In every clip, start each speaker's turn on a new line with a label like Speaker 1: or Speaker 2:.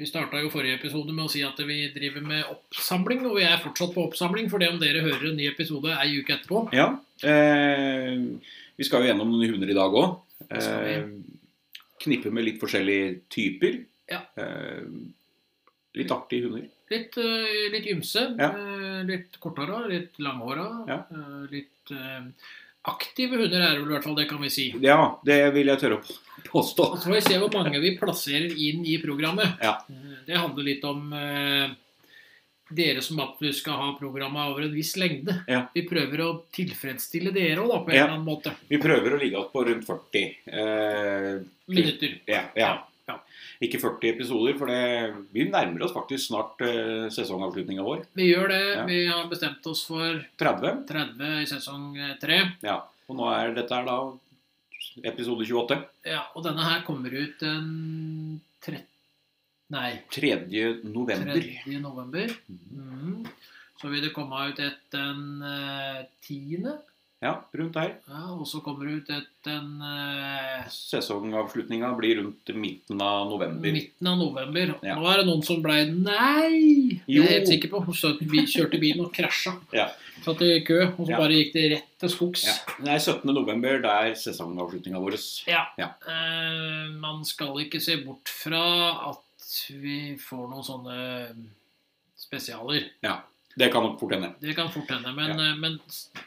Speaker 1: Vi starta jo forrige episode med å si at vi driver med oppsamling, og vi er fortsatt på oppsamling, for det om dere hører en ny episode ei uke etterpå.
Speaker 2: Ja. Eh, vi skal jo gjennom noen hunder i dag òg.
Speaker 1: Det skal vi.
Speaker 2: Eh, knippe med litt forskjellige typer.
Speaker 1: Ja.
Speaker 2: Eh, litt artige hunder.
Speaker 1: Litt, eh, litt ymse,
Speaker 2: Ja.
Speaker 1: eh, litt korthåra, litt langhåra,
Speaker 2: Ja.
Speaker 1: eh, litt eh, aktive hunder er det vel i hvert fall, det kan vi si.
Speaker 2: Ja, det vil jeg tørre å på- påstå.
Speaker 1: Og så får vi se hvor mange vi plasserer inn i programmet.
Speaker 2: Ja.
Speaker 1: Eh, Det handler litt om eh, dere som absolutt skal ha programmet over en viss lengde.
Speaker 2: Ja.
Speaker 1: Vi prøver å tilfredsstille dere òg, på en
Speaker 2: Ja.
Speaker 1: eller annen måte.
Speaker 2: Vi prøver å ligge oss på rundt 40. Eh,
Speaker 1: Minutter.
Speaker 2: ja, ja.
Speaker 1: Ja, ja.
Speaker 2: Ikke 40 episoder, for det, vi nærmer oss faktisk snart eh, sesongavslutninga vår.
Speaker 1: Vi gjør det.
Speaker 2: Ja.
Speaker 1: Vi har bestemt oss for
Speaker 2: 30.
Speaker 1: 30 i sesong eh, 3.
Speaker 2: Ja. Og nå er dette her da episode 28.
Speaker 1: Ja, og denne her kommer ut den 3... Nei,
Speaker 2: 3. november.
Speaker 1: 3. november. Mhm. Så vil det komme ut et den eh, 10.
Speaker 2: Ja, rundt her.
Speaker 1: Ja, og så kommer det ut et den eh,
Speaker 2: Sesongavslutninga blir rundt midten av november.
Speaker 1: Midten av november.
Speaker 2: Ja.
Speaker 1: Nå er det noen som blei Nei! Det er
Speaker 2: Jo.
Speaker 1: jeg helt sikker på. Hun søt- vi kjørte bilen og krasja.
Speaker 2: Ja.
Speaker 1: Satt i kø, og så
Speaker 2: Ja.
Speaker 1: bare gikk det rett til skogs.
Speaker 2: Ja. Nei, 17. november, det er sesongavslutninga vår.
Speaker 1: Eh, man skal ikke se bort fra at vi får noen sånne eh, spesialer.
Speaker 2: Det kan nok fort hende.
Speaker 1: Det kan fort hende, men, eh, men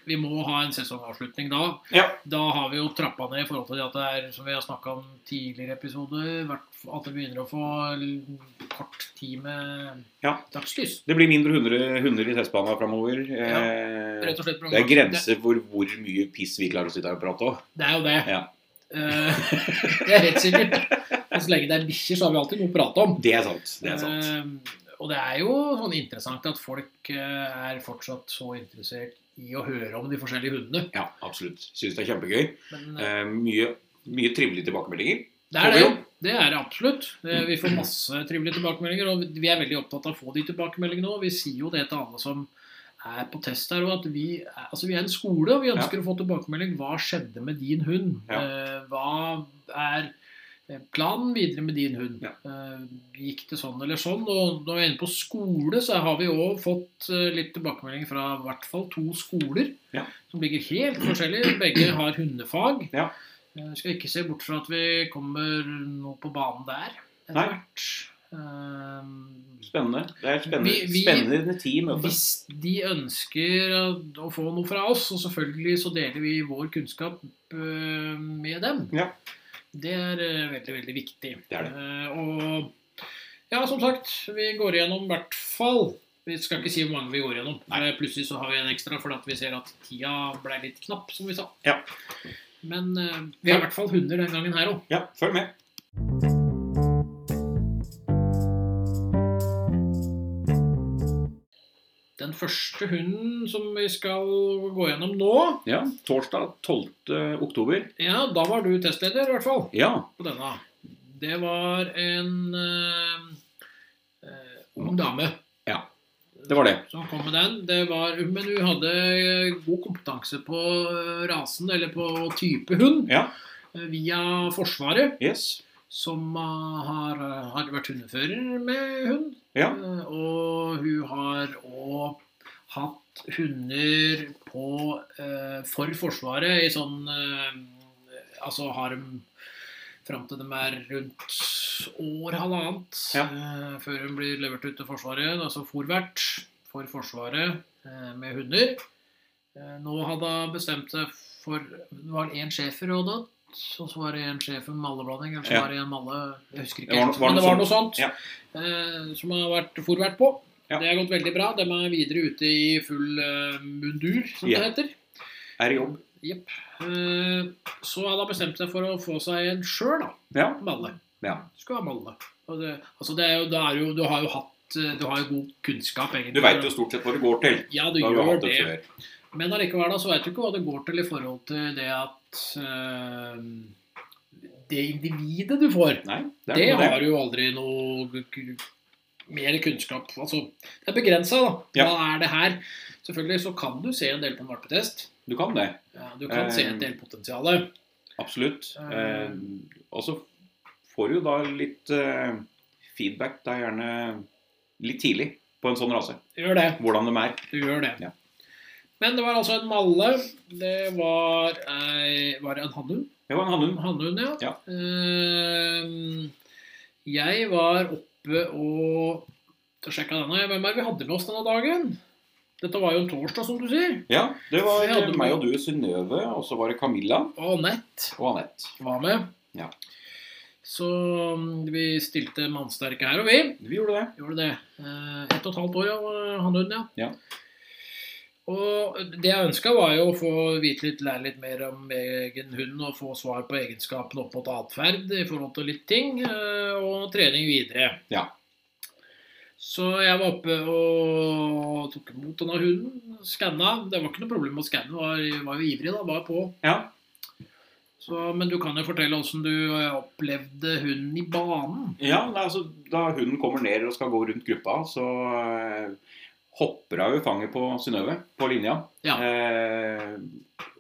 Speaker 1: vi må ha en sesongavslutning da.
Speaker 2: Ja.
Speaker 1: Da har vi jo trappa ned i forhold til at det er, som vi har snakka om tidligere episoder, hvert- at det begynner å få l- kort tid med
Speaker 2: Ja.
Speaker 1: dagslys.
Speaker 2: Det blir mindre hundre, hunder i testbanen framover. Eh,
Speaker 1: Rett og slett
Speaker 2: det er grenser for hvor mye piss vi klarer å sitte her og prate om.
Speaker 1: Det er jo det.
Speaker 2: Ja.
Speaker 1: Eh, det er helt sikkert. Og så lenge det er bikkjer, så har vi alltid noe å prate om.
Speaker 2: Det er sant. Det er sant.
Speaker 1: Eh, og det er jo sånn interessant at folk eh, er fortsatt så interessert i å høre om de forskjellige hundene.
Speaker 2: Ja, absolutt. Syns det er kjempegøy.
Speaker 1: Men eh,
Speaker 2: Eh, mye mye trivelige tilbakemeldinger.
Speaker 1: det er
Speaker 2: får vi
Speaker 1: det.
Speaker 2: jo.
Speaker 1: Det er det absolutt. Eh, Vi får masse trivelige tilbakemeldinger, og vi er veldig opptatt av å få de tilbakemeldingene òg. Vi sier jo det til alle som er på test her, og at vi, er- altså vi er en skole, og vi ønsker å få tilbakemelding. Hva skjedde med din hund?
Speaker 2: Ja.
Speaker 1: Eh, Hva er eh, planen videre med din hund?
Speaker 2: Ja.
Speaker 1: Eh, Gikk det sånn eller sånn? Og når vi er inne på skole, så har vi òg fått eh, litt tilbakemeldinger fra i hvert fall to skoler
Speaker 2: Ja.
Speaker 1: som ligger helt forskjellig. Begge har hundefag.
Speaker 2: Ja.
Speaker 1: Eh, Skal ikke se bort fra at vi kommer noe på banen der etter
Speaker 2: Nei.
Speaker 1: hvert. Eh,
Speaker 2: Spennende. Det er spennende,
Speaker 1: Vi- vi-
Speaker 2: spennende tid i møte.
Speaker 1: Eh, hvis de ønsker å- å få noe fra oss, og selvfølgelig så deler vi vår kunnskap øh, med dem.
Speaker 2: Ja.
Speaker 1: Det er øh, veldig, veldig viktig.
Speaker 2: Det er det.
Speaker 1: Eh, Og ja, som sagt, vi går igjennom i hvert fall Vi skal ikke si hvor mange vi går igjennom.
Speaker 2: Nei.
Speaker 1: Eh, Plutselig så har vi en ekstra fordi at vi ser at tida ble litt knapp, som vi sa.
Speaker 2: Ja.
Speaker 1: Men eh, vi har i hvert fall hunder den gangen her òg.
Speaker 2: Ja, følg med.
Speaker 1: Den første hunden som vi skal gå gjennom nå
Speaker 2: Ja, Torsdag 12. oktober.
Speaker 1: Ja, da var du testleder, i hvert fall.
Speaker 2: Ja,
Speaker 1: på denne. Det var en eh, eh, ung dame
Speaker 2: Ja, det var det.
Speaker 1: som kom med den. Det var, men hun hadde eh, god kompetanse på eh, rasen, eller på type hund,
Speaker 2: Ja.
Speaker 1: eh, via Forsvaret,
Speaker 2: Yes.
Speaker 1: som eh, har, har vært hundefører med hund.
Speaker 2: Ja.
Speaker 1: Eh, og hun har òg hatt hunder på eh, for Forsvaret i sånn eh, Altså har dem fram til de er rundt år, halvannet,
Speaker 2: Ja.
Speaker 1: eh, før hun blir levert ut til Forsvaret. Altså forvert for Forsvaret eh, med hunder. Eh, nå hadde hun bestemt seg for Det var én schæfer hun hadde hatt, og så var det en schæfer med malleblanding, eller så
Speaker 2: Ja.
Speaker 1: var det en malle Jeg husker ikke,
Speaker 2: Det var no-
Speaker 1: helt,
Speaker 2: var
Speaker 1: men
Speaker 2: noe
Speaker 1: det var
Speaker 2: sånt.
Speaker 1: noe sånt
Speaker 2: Ja.
Speaker 1: eh, som har vært forvært på.
Speaker 2: Ja.
Speaker 1: Det har gått veldig bra. De er videre ute i full eh, mundur, som
Speaker 2: Ja.
Speaker 1: det heter.
Speaker 2: Er i jobb.
Speaker 1: Jepp. Eh, så hadde han bestemt seg for å få seg en sjøl, da.
Speaker 2: Ja.
Speaker 1: Malle.
Speaker 2: ja.
Speaker 1: Skal ha malle. Og det, altså det er jo, da er jo, du har jo hatt eh, Du har jo god kunnskap, egentlig.
Speaker 2: Du veit jo stort sett hva det går til.
Speaker 1: Ja, du
Speaker 2: Da har du
Speaker 1: gjør
Speaker 2: hatt det
Speaker 1: det.
Speaker 2: før.
Speaker 1: Men allikevel da, så veit du ikke hva det går til i forhold til det at eh, Det individet du får.
Speaker 2: Nei, det er
Speaker 1: Det
Speaker 2: noe med
Speaker 1: har jo aldri noe k- k- mer kunnskap Altså, det er begrensa, da.
Speaker 2: Ja.
Speaker 1: Hva er det her? Selvfølgelig så kan du se en del på en valpetest.
Speaker 2: Du kan det.
Speaker 1: Ja, du kan se en
Speaker 2: Eh,
Speaker 1: del potensial.
Speaker 2: Absolutt.
Speaker 1: Eh,
Speaker 2: Eh, og så får du da litt eh, feedback da gjerne litt tidlig på en sånn rase.
Speaker 1: Gjør det.
Speaker 2: Hvordan de er.
Speaker 1: Du gjør det.
Speaker 2: Ja.
Speaker 1: Men det var altså en malle. Det var, ei, var det en hannhund.
Speaker 2: Det var en hannhund.
Speaker 1: Hannhund, ja.
Speaker 2: Ja.
Speaker 1: Ehm, jeg var oppe og sjekka denne. Hvem er det vi hadde med oss denne dagen? Dette var jo en torsdag, som du sier.
Speaker 2: Ja, det var
Speaker 1: Vi hadde-
Speaker 2: meg og du, Synnøve, og så var det Camilla
Speaker 1: Og Anette
Speaker 2: og Anette.
Speaker 1: var med.
Speaker 2: Ja.
Speaker 1: Så mm, vi stilte mannsterke her og vi.
Speaker 2: Vi gjorde det.
Speaker 1: Gjorde det. Eh, Ett og et halvt år, ja, var hannhunden, ja.
Speaker 2: Ja.
Speaker 1: Og det jeg ønska, var jo å få vite litt, lære litt mer om egen hund og få svar på egenskapene opp mot atferd i forhold til litt ting, eh, og trening videre.
Speaker 2: Ja.
Speaker 1: Så jeg var oppe og tok imot denne hunden. Skanna. Det var ikke noe problem å skanne, var, var jo ivrig, da. Var på.
Speaker 2: Ja.
Speaker 1: Så, men du kan jo fortelle åssen du eh, opplevde hunden i banen.
Speaker 2: Ja, nei, altså, Da hunden kommer ned og skal gå rundt gruppa, så eh, hopper hun i fanget på Synnøve på linja.
Speaker 1: Ja.
Speaker 2: Eh,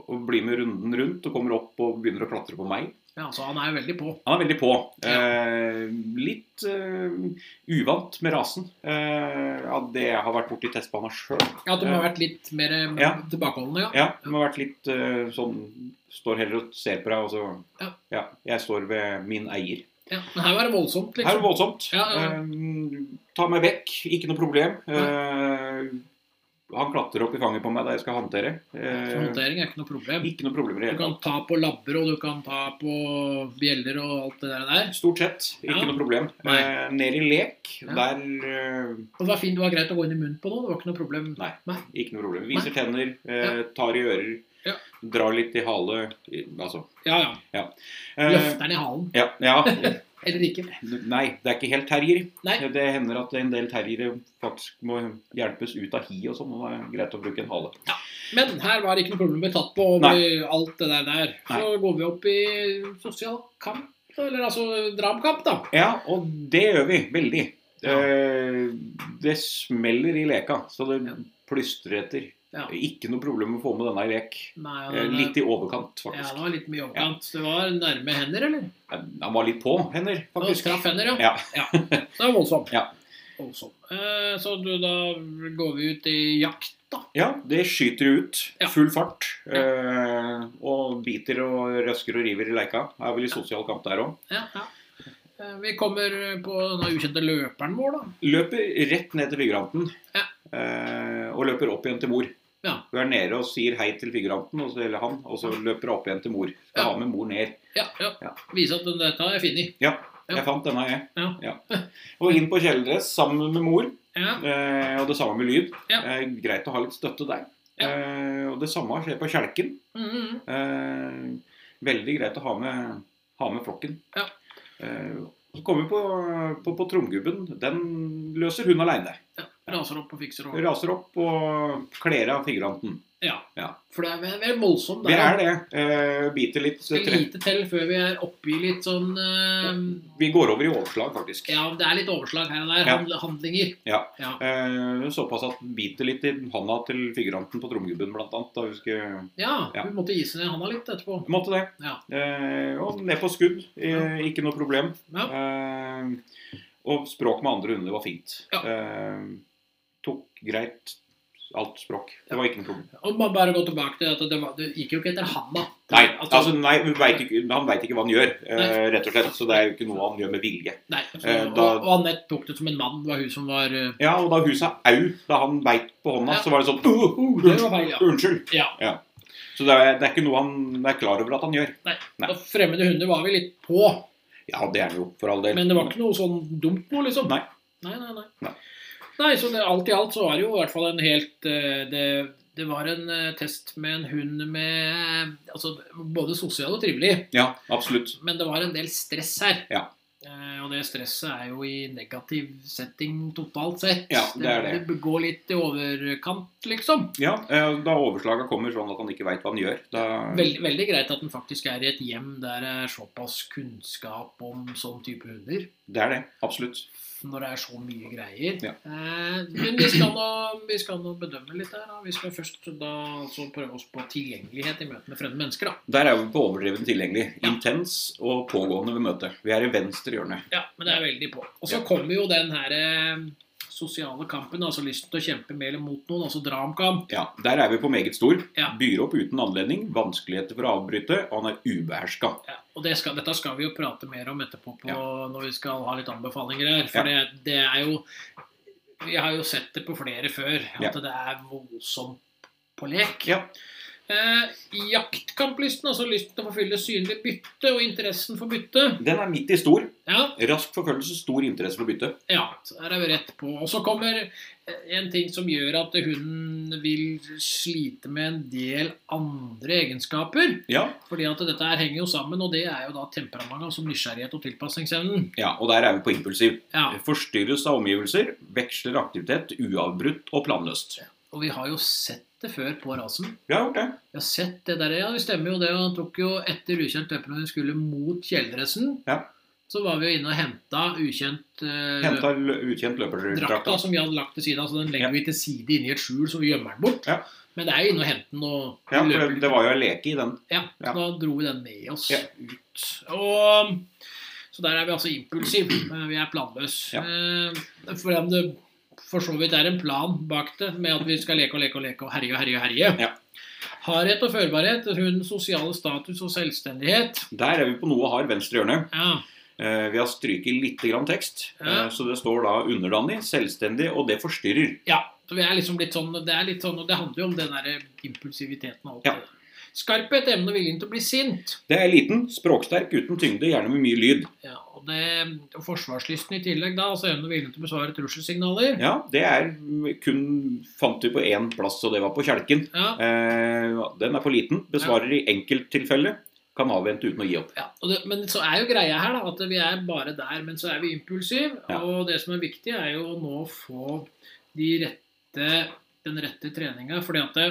Speaker 2: og blir med runden rundt og kommer opp og begynner å klatre på meg.
Speaker 1: Ja, så han er veldig på.
Speaker 2: Han er veldig på.
Speaker 1: Ja.
Speaker 2: Eh, litt eh, uvant med rasen. Eh, ja, det jeg har vært borti testbana sjøl.
Speaker 1: Ja, at de har vært litt mer eh,
Speaker 2: Ja.
Speaker 1: tilbakeholdne, ja.
Speaker 2: Ja, det må ha vært litt eh, sånn Står heller og ser på deg, og så
Speaker 1: Ja.
Speaker 2: jeg står ved min eier.
Speaker 1: ja. Men her var det voldsomt,
Speaker 2: Her er
Speaker 1: liksom.
Speaker 2: det voldsomt.
Speaker 1: Ja, ja, ja.
Speaker 2: Eh, ta meg vekk, ikke noe problem. Eh, han klatrer opp i fanget på meg da jeg skal håndtere.
Speaker 1: Så
Speaker 2: Eh,
Speaker 1: håndtering er ikke noe problem.
Speaker 2: ikke noe problemer i det
Speaker 1: Du
Speaker 2: hele tatt.
Speaker 1: kan ta på labber, og du kan ta på bjeller og alt det der der.
Speaker 2: Stort sett ikke
Speaker 1: Ja.
Speaker 2: noe problem.
Speaker 1: Nei.
Speaker 2: Eh, ned i lek,
Speaker 1: Ja.
Speaker 2: der eh,
Speaker 1: Og det var fint, det var greit å gå inn i munnen på noe, det var ikke noe problem.
Speaker 2: Nei. ikke noe problem. Viser tenner, eh,
Speaker 1: Ja.
Speaker 2: tar i ører,
Speaker 1: Ja.
Speaker 2: drar litt i hale i- Altså.
Speaker 1: Ja, ja.
Speaker 2: Eh,
Speaker 1: Løfter den i halen.
Speaker 2: ja, ja.
Speaker 1: Eller ikke.
Speaker 2: Nei, det er ikke helt terrier.
Speaker 1: Nei.
Speaker 2: Det hender at en del terriere faktisk må hjelpes ut av hi og sånn. Og det er greit å bruke en hale.
Speaker 1: Men her var det ikke noe problem å bli tatt på og
Speaker 2: Nei.
Speaker 1: bli- alt det der der. Så går vi opp i sosial kamp, eller altså drapkamp, da.
Speaker 2: Ja, og det gjør vi. Veldig.
Speaker 1: Ja.
Speaker 2: Eh, Det smeller i leka, så det
Speaker 1: Ja.
Speaker 2: plystrer etter.
Speaker 1: Ja.
Speaker 2: Ikke noe problem å få med denne i lek.
Speaker 1: Nei,
Speaker 2: Eh,
Speaker 1: ja, det-
Speaker 2: Litt i overkant,
Speaker 1: Ja, det
Speaker 2: faktisk.
Speaker 1: var litt mye overkant. Det var nærme hender, eller?
Speaker 2: Han var litt på hender,
Speaker 1: Og
Speaker 2: faktisk.
Speaker 1: Traff hender, ja.
Speaker 2: Ja.
Speaker 1: Det er voldsomt.
Speaker 2: Ja.
Speaker 1: Voldsomt. Eh, så du, da går vi ut i jakt, da.
Speaker 2: Ja, det skyter ut.
Speaker 1: Ja.
Speaker 2: Full fart. Eh, og biter og røsker og river i leika. Det er vel i sosial kamp der òg.
Speaker 1: Ja, ja. Eh, vi kommer på denne ukjente løperen vår, da.
Speaker 2: Løper rett ned til figuranten
Speaker 1: Ja.
Speaker 2: eh, og løper opp igjen til mor.
Speaker 1: Ja.
Speaker 2: Hun er nede og sier hei til figuranten, og så, eller han, og så løper hun opp igjen til mor. Skal
Speaker 1: Ja.
Speaker 2: ha med mor ned.
Speaker 1: Ja, ja.
Speaker 2: Ja.
Speaker 1: Vise at den- dette har jeg funnet.
Speaker 2: Ja,
Speaker 1: Ja.
Speaker 2: jeg fant denne, jeg.
Speaker 1: Ja.
Speaker 2: Og inn på kjeledress sammen med mor,
Speaker 1: Ja,
Speaker 2: eh, og det samme med lyd.
Speaker 1: Ja.
Speaker 2: Eh, greit å ha litt støtte der.
Speaker 1: Ja.
Speaker 2: Eh, og det samme skjer på kjelken.
Speaker 1: mm, mm.
Speaker 2: Eh, veldig greit å ha med, ha med flokken.
Speaker 1: Ja.
Speaker 2: Eh, så kommer vi på, på, på tromgubben. Den løser hun aleine.
Speaker 1: Raser opp og fikser over.
Speaker 2: Raser opp og kler av figuranten.
Speaker 1: Ja.
Speaker 2: Ja.
Speaker 1: For det er, vi er- vi er voldsomt
Speaker 2: Det
Speaker 1: der.
Speaker 2: er det. Eh, biter litt
Speaker 1: Skal
Speaker 2: tre.
Speaker 1: lite til før vi er oppe i litt sånn eh,
Speaker 2: Vi går over i overslag, faktisk.
Speaker 1: Ja, det er litt overslag her og der.
Speaker 2: Ja.
Speaker 1: hand- Handlinger.
Speaker 2: Ja.
Speaker 1: Ja.
Speaker 2: Eh, såpass at den biter litt i handa til figuranten på tromgubben, blant annet. Da vi skulle...
Speaker 1: Ja,
Speaker 2: Ja.
Speaker 1: vi måtte ise ned handa litt etterpå.
Speaker 2: Måtte det.
Speaker 1: Ja.
Speaker 2: Eh, og ned på skudd. Eh, ikke noe problem.
Speaker 1: Ja.
Speaker 2: Eh, og språk med andre hunder var fint.
Speaker 1: Ja.
Speaker 2: Eh, tok greit alt språk. Det var ikke noe problem.
Speaker 1: Og man bare gå tilbake til at det, var, det gikk jo ikke etter handa.
Speaker 2: Nei, altså, nei vi vet ikke, han veit ikke hva han gjør, eh,
Speaker 1: Nei.
Speaker 2: rett og slett. Så det er jo ikke noe han gjør med vilje.
Speaker 1: Nei, så,
Speaker 2: Eh, da-
Speaker 1: og, og Anette tok det som en mann. Det var hun som var eh,
Speaker 2: Ja, og da hun sa au da han beit på hånda,
Speaker 1: Ja.
Speaker 2: så var det sånn «Åh, åh,
Speaker 1: Det var feil, ja.
Speaker 2: Unnskyld.
Speaker 1: Ja.
Speaker 2: Så det er, det er ikke noe han er klar over at han gjør.
Speaker 1: Nei.
Speaker 2: Nei.
Speaker 1: Og fremmede hunder var vi litt på,
Speaker 2: Ja, det er det jo, for all del.
Speaker 1: men det var ikke noe sånn dumt noe, liksom.
Speaker 2: Nei.
Speaker 1: Nei, nei, nei.
Speaker 2: Nei.
Speaker 1: Nei, så det, alt i alt så var det jo i hvert fall en helt eh, Det, det var en eh, test med en hund med eh, Altså både sosial og trivelig,
Speaker 2: Ja, absolutt.
Speaker 1: men det var en del stress her.
Speaker 2: Ja.
Speaker 1: Eh, og det stresset er jo i negativ setting totalt sett.
Speaker 2: Ja, det er det.
Speaker 1: Det går litt i overkant, liksom.
Speaker 2: Ja, eh, Da overslaga kommer sånn at han ikke veit hva han gjør, da
Speaker 1: Veldig, veldig greit at den faktisk er i et hjem der det er såpass kunnskap om sånn type hunder.
Speaker 2: Det er det. Absolutt.
Speaker 1: Når det er så mye greier.
Speaker 2: Ja.
Speaker 1: Eh, men vi skal, nå, vi skal nå bedømme litt her. Da. Vi skal først da, altså, prøve oss på tilgjengelighet i møte med fremmede mennesker. Da.
Speaker 2: Der er vi på overdreven tilgjengelig.
Speaker 1: Ja.
Speaker 2: Intens og pågående ved møtet. Vi er i venstre hjørne.
Speaker 1: Ja, men det er veldig på. Og så kommer jo den her eh, sosiale kampen, altså lysten til å kjempe med eller mot noen, altså dramkamp.
Speaker 2: Ja, Der er vi på meget stor.
Speaker 1: Ja.
Speaker 2: Byr opp uten anledning, vanskeligheter for å avbryte, og han er ubeherska.
Speaker 1: Ja, og det skal, dette skal vi jo prate mer om etterpå på, når vi skal ha litt anbefalinger her.
Speaker 2: Ja.
Speaker 1: For det, det er jo Vi har jo sett det på flere før, at
Speaker 2: Ja.
Speaker 1: det er voldsomt på lek.
Speaker 2: Ja.
Speaker 1: Eh, jaktkamplysten, altså lysten til å forfylle synlig bytte og interessen for bytte.
Speaker 2: Den er midt i stor.
Speaker 1: Ja,
Speaker 2: Rask forfølgelse, stor interesse for bytte.
Speaker 1: Ja, så her er vi rett på. Og så kommer eh, en ting som gjør at hunden vil slite med en del andre egenskaper.
Speaker 2: Ja,
Speaker 1: Fordi at dette her henger jo sammen, og det er jo da temperamentet, altså nysgjerrighet og tilpasningsevnen.
Speaker 2: ja Og der er vi på impulsiv.
Speaker 1: Ja,
Speaker 2: Forstyrres av omgivelser, veksler aktivitet uavbrutt og planløst.
Speaker 1: og vi har jo sett det før på rasen.
Speaker 2: Vi har gjort det.
Speaker 1: Vi har sett det der, ja, det stemmer jo det. og Han tok jo etter ukjent løper når hun skulle mot kjeledressen.
Speaker 2: Ja.
Speaker 1: Så var vi jo inne og henta ukjent eh,
Speaker 2: Henta lø ukjent løperdrakta.
Speaker 1: drakta som vi hadde lagt til siden. Altså den legger
Speaker 2: Ja.
Speaker 1: vi til side inni et skjul, så vi gjemmer den bort.
Speaker 2: Ja.
Speaker 1: Men det er jo inne og hente den og
Speaker 2: Ja, for
Speaker 1: løper
Speaker 2: det, det var jo en leke i den.
Speaker 1: Ja,
Speaker 2: Ja.
Speaker 1: da dro vi den med oss
Speaker 2: Ja.
Speaker 1: ut. Og, så der er vi altså impulsiv. eh, Vi er planløse.
Speaker 2: Ja.
Speaker 1: Eh, For om det for så vidt er en plan bak det, med at vi skal leke og leke og leke og herje og herje og herje.
Speaker 2: Ja.
Speaker 1: Hardhet og førbarhet, hundens sosiale status og selvstendighet.
Speaker 2: Der er vi på noe hard venstre hjørne.
Speaker 1: Ja,
Speaker 2: Eh, Vi har stryket litt grann tekst,
Speaker 1: Ja.
Speaker 2: eh, så det står da underdanig, selvstendig, og det forstyrrer.
Speaker 1: ja. Så vi er liksom litt sånn, det er litt sånn, og det handler jo om den der impulsiviteten og alt
Speaker 2: Ja.
Speaker 1: det der. Skarphet, evne og viljen til å bli sint.
Speaker 2: Det er liten, språksterk, uten tyngde, gjerne med mye lyd.
Speaker 1: Ja, og det, og forsvarslysten i tillegg, da. Altså evne og viljen til å besvare trusselsignaler.
Speaker 2: Ja, det er mm, kun fant vi på én plass, og det var på kjelken.
Speaker 1: Ja.
Speaker 2: Eh, Den er for liten, besvarer i enkelttilfelle, kan avvente uten å gi opp.
Speaker 1: Ja, og det, men så er jo greia her da, at vi er bare der, men så er vi impulsiv.
Speaker 2: Ja.
Speaker 1: Og det som er viktig, er jo å nå få de rette, den rette treninga. Fordi at det,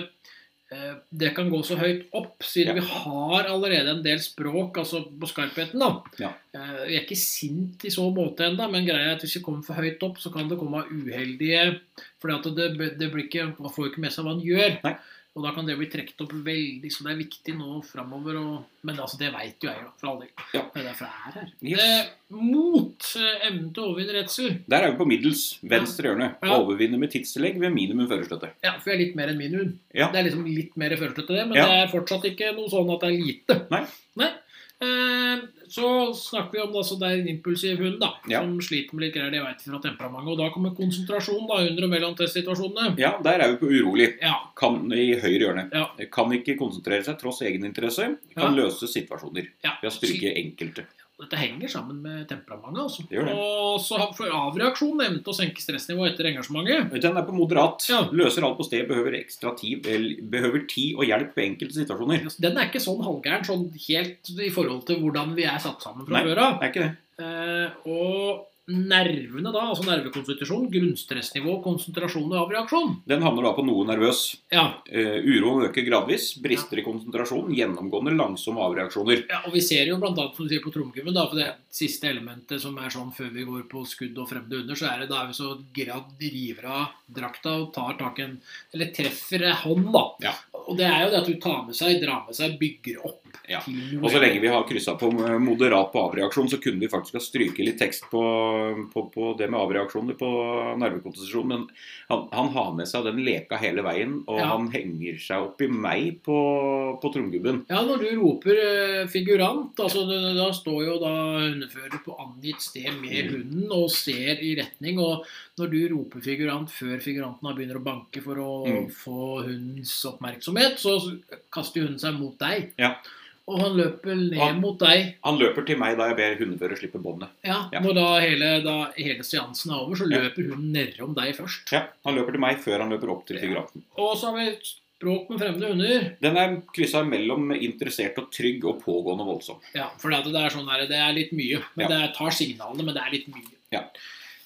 Speaker 1: eh, det kan gå så høyt opp, siden
Speaker 2: Ja.
Speaker 1: vi har allerede en del språk altså på skarpheten. da.
Speaker 2: Ja.
Speaker 1: Eh, Vi er ikke sint i så måte ennå, men greia er at hvis vi kommer for høyt opp, så kan det komme av uheldige fordi at det, det blir ikke, Man får jo ikke med seg hva han gjør.
Speaker 2: Nei.
Speaker 1: Og da kan det bli trukket opp veldig, så det er viktig nå framover. Og, men altså, det veit jo jeg, da, for all del.
Speaker 2: Ja.
Speaker 1: Det er derfor jeg er her.
Speaker 2: Yes.
Speaker 1: Eh, mot eh, evnen til å overvinne redsel.
Speaker 2: Der er vi på middels, venstre hjørne.
Speaker 1: Ja.
Speaker 2: Overvinne med tidstillegg ved minimum førerstøtte.
Speaker 1: Ja, for jeg er litt mer enn min hund.
Speaker 2: Ja.
Speaker 1: Det er liksom litt mer følelse til det, men
Speaker 2: Ja.
Speaker 1: det er fortsatt ikke noe sånn at det er lite.
Speaker 2: Nei.
Speaker 1: Nei. Eh, så snakker vi om det, altså, det er en impulsiv hund da,
Speaker 2: Ja.
Speaker 1: som sliter med litt greier, det vet vi fra temperamentet. Og da kommer konsentrasjon da, under og mellom testsituasjonene.
Speaker 2: Ja, der er vi på urolig.
Speaker 1: Ja.
Speaker 2: Kan, I høyre hjørne.
Speaker 1: Ja.
Speaker 2: Kan ikke konsentrere seg tross egeninteresse.
Speaker 1: Ja.
Speaker 2: Kan løse situasjoner.
Speaker 1: ja.
Speaker 2: Ved å stryke enkelte.
Speaker 1: Dette henger sammen med temperamentet. Altså.
Speaker 2: Det gjør det.
Speaker 1: Og så har- for avreaksjon nevnte å senke stressnivået etter engasjementet.
Speaker 2: Den er på moderat.
Speaker 1: Ja.
Speaker 2: Løser alt på sted. Behøver ekstra tid, eller behøver tid og hjelp ved enkelte situasjoner.
Speaker 1: Den er ikke sånn halvgæren sånn helt i forhold til hvordan vi er satt sammen fra
Speaker 2: Nei.
Speaker 1: før av.
Speaker 2: Er ikke det?
Speaker 1: Eh, og nervene, da, altså nervekonstitusjon, grunnstressnivå, konsentrasjon og avreaksjon.
Speaker 2: Den havner da på noe nervøs.
Speaker 1: Ja,
Speaker 2: Eh, uroen øker gradvis. Brister i konsentrasjon. Gjennomgående langsomme avreaksjoner.
Speaker 1: ja, og vi ser jo blant annet som du sier på trommegymmen, da, for det siste elementet som er sånn før vi går på skudd og fremde under, så er det da er vi så gira at vi river av drakta og tar tak i en Eller treffer ei hånd, da.
Speaker 2: Ja.
Speaker 1: Og det er jo det at du tar med seg, drar med seg, bygger opp.
Speaker 2: Ja.
Speaker 1: til noe.
Speaker 2: Og så lenge vi har kryssa på moderat på avreaksjon, så kunne vi faktisk ha stryket litt tekst på, på, på det med avreaksjoner på nervekonstitusjon. Men han, han har med seg den leka hele veien, og
Speaker 1: Ja.
Speaker 2: han henger seg opp i meg på, på tromgubben.
Speaker 1: Ja, når du roper eh, figurant, altså da, da står jo da hundefører på angitt sted med
Speaker 2: Mm.
Speaker 1: hunden og ser i retning. Og når du roper figurant før figuranten da begynner å banke for å
Speaker 2: Mm.
Speaker 1: få hundens oppmerksomhet, så kaster hunden seg mot deg.
Speaker 2: Ja.
Speaker 1: Og han løper ned
Speaker 2: Han-
Speaker 1: mot deg.
Speaker 2: Han løper til meg da jeg ber hundefører slippe båndet.
Speaker 1: Ja,
Speaker 2: Ja.
Speaker 1: Når da hele, da hele seansen er over, så
Speaker 2: Ja.
Speaker 1: løper hunden nedom deg først.
Speaker 2: Ja, han løper til meg før han løper opp til figuranten.
Speaker 1: Og så har vi språk med fremmede hunder.
Speaker 2: Den er kryssa mellom interessert og trygg og pågående voldsom.
Speaker 1: Ja, for det, at det er sånn her, det er litt mye. Men
Speaker 2: Ja.
Speaker 1: det er, tar signalene, men det er litt mye.
Speaker 2: Ja.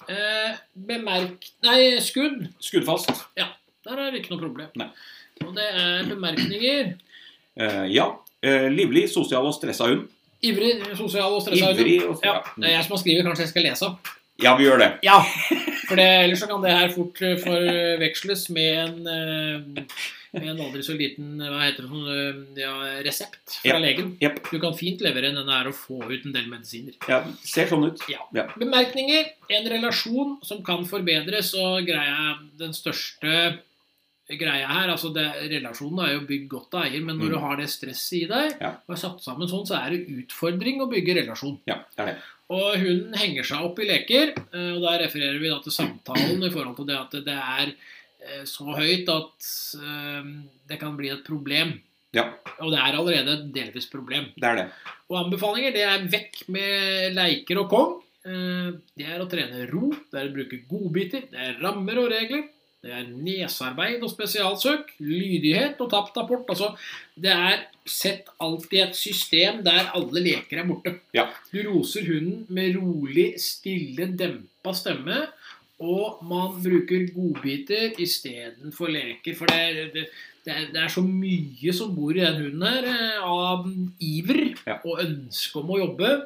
Speaker 1: Eh, bemerk... Nei, skudd.
Speaker 2: Skuddfast.
Speaker 1: Der er det ikke noe problem.
Speaker 2: Nei.
Speaker 1: Og det er bemerkninger.
Speaker 2: Eh, ja. Eh, livlig, sosial og stressa hund.
Speaker 1: Ivrig, sosial og stressa.
Speaker 2: Ivrig og
Speaker 1: Ja, det er jeg som har skrevet. Kanskje jeg skal lese opp?
Speaker 2: Ja, vi gjør det.
Speaker 1: Ja. For det, ellers så kan det her fort eh, forveksles med en eh, med en aldri så liten hva heter det, sånn, eh, ja, resept fra
Speaker 2: Ja.
Speaker 1: legen.
Speaker 2: Jepp.
Speaker 1: Du kan fint levere inn denne her og få ut en del medisiner.
Speaker 2: Ja, ser sånn ut.
Speaker 1: Bemerkninger. En relasjon som kan forbedres, og greia den største greia her altså det, Relasjonen er jo bygd godt av eier, men når
Speaker 2: Mm.
Speaker 1: du har det stresset i deg,
Speaker 2: Ja.
Speaker 1: og er satt sammen sånn, så er det utfordring å bygge relasjon.
Speaker 2: Ja, det er det.
Speaker 1: Og hunden henger seg opp i leker, eh, og der refererer vi da til samtalen i forhold til det at det er eh, så høyt at eh, det kan bli et problem.
Speaker 2: Ja,
Speaker 1: Og det er allerede et delvis problem.
Speaker 2: det er det.
Speaker 1: Og anbefalinger det er vekk med leiker og kong. Eh, Det er å trene ro, det er å bruke godbiter, det er rammer og regler. Det er nesearbeid og spesialsøk, lydighet og tapt apport. Altså, det er sett alltid et system der alle leker er borte.
Speaker 2: Ja.
Speaker 1: Du roser hunden med rolig, stille, dempa stemme. Og man bruker godbiter istedenfor leker. For det er, det, det, er, det er så mye som bor i den hunden her eh, av iver
Speaker 2: Ja.
Speaker 1: og ønske om å jobbe,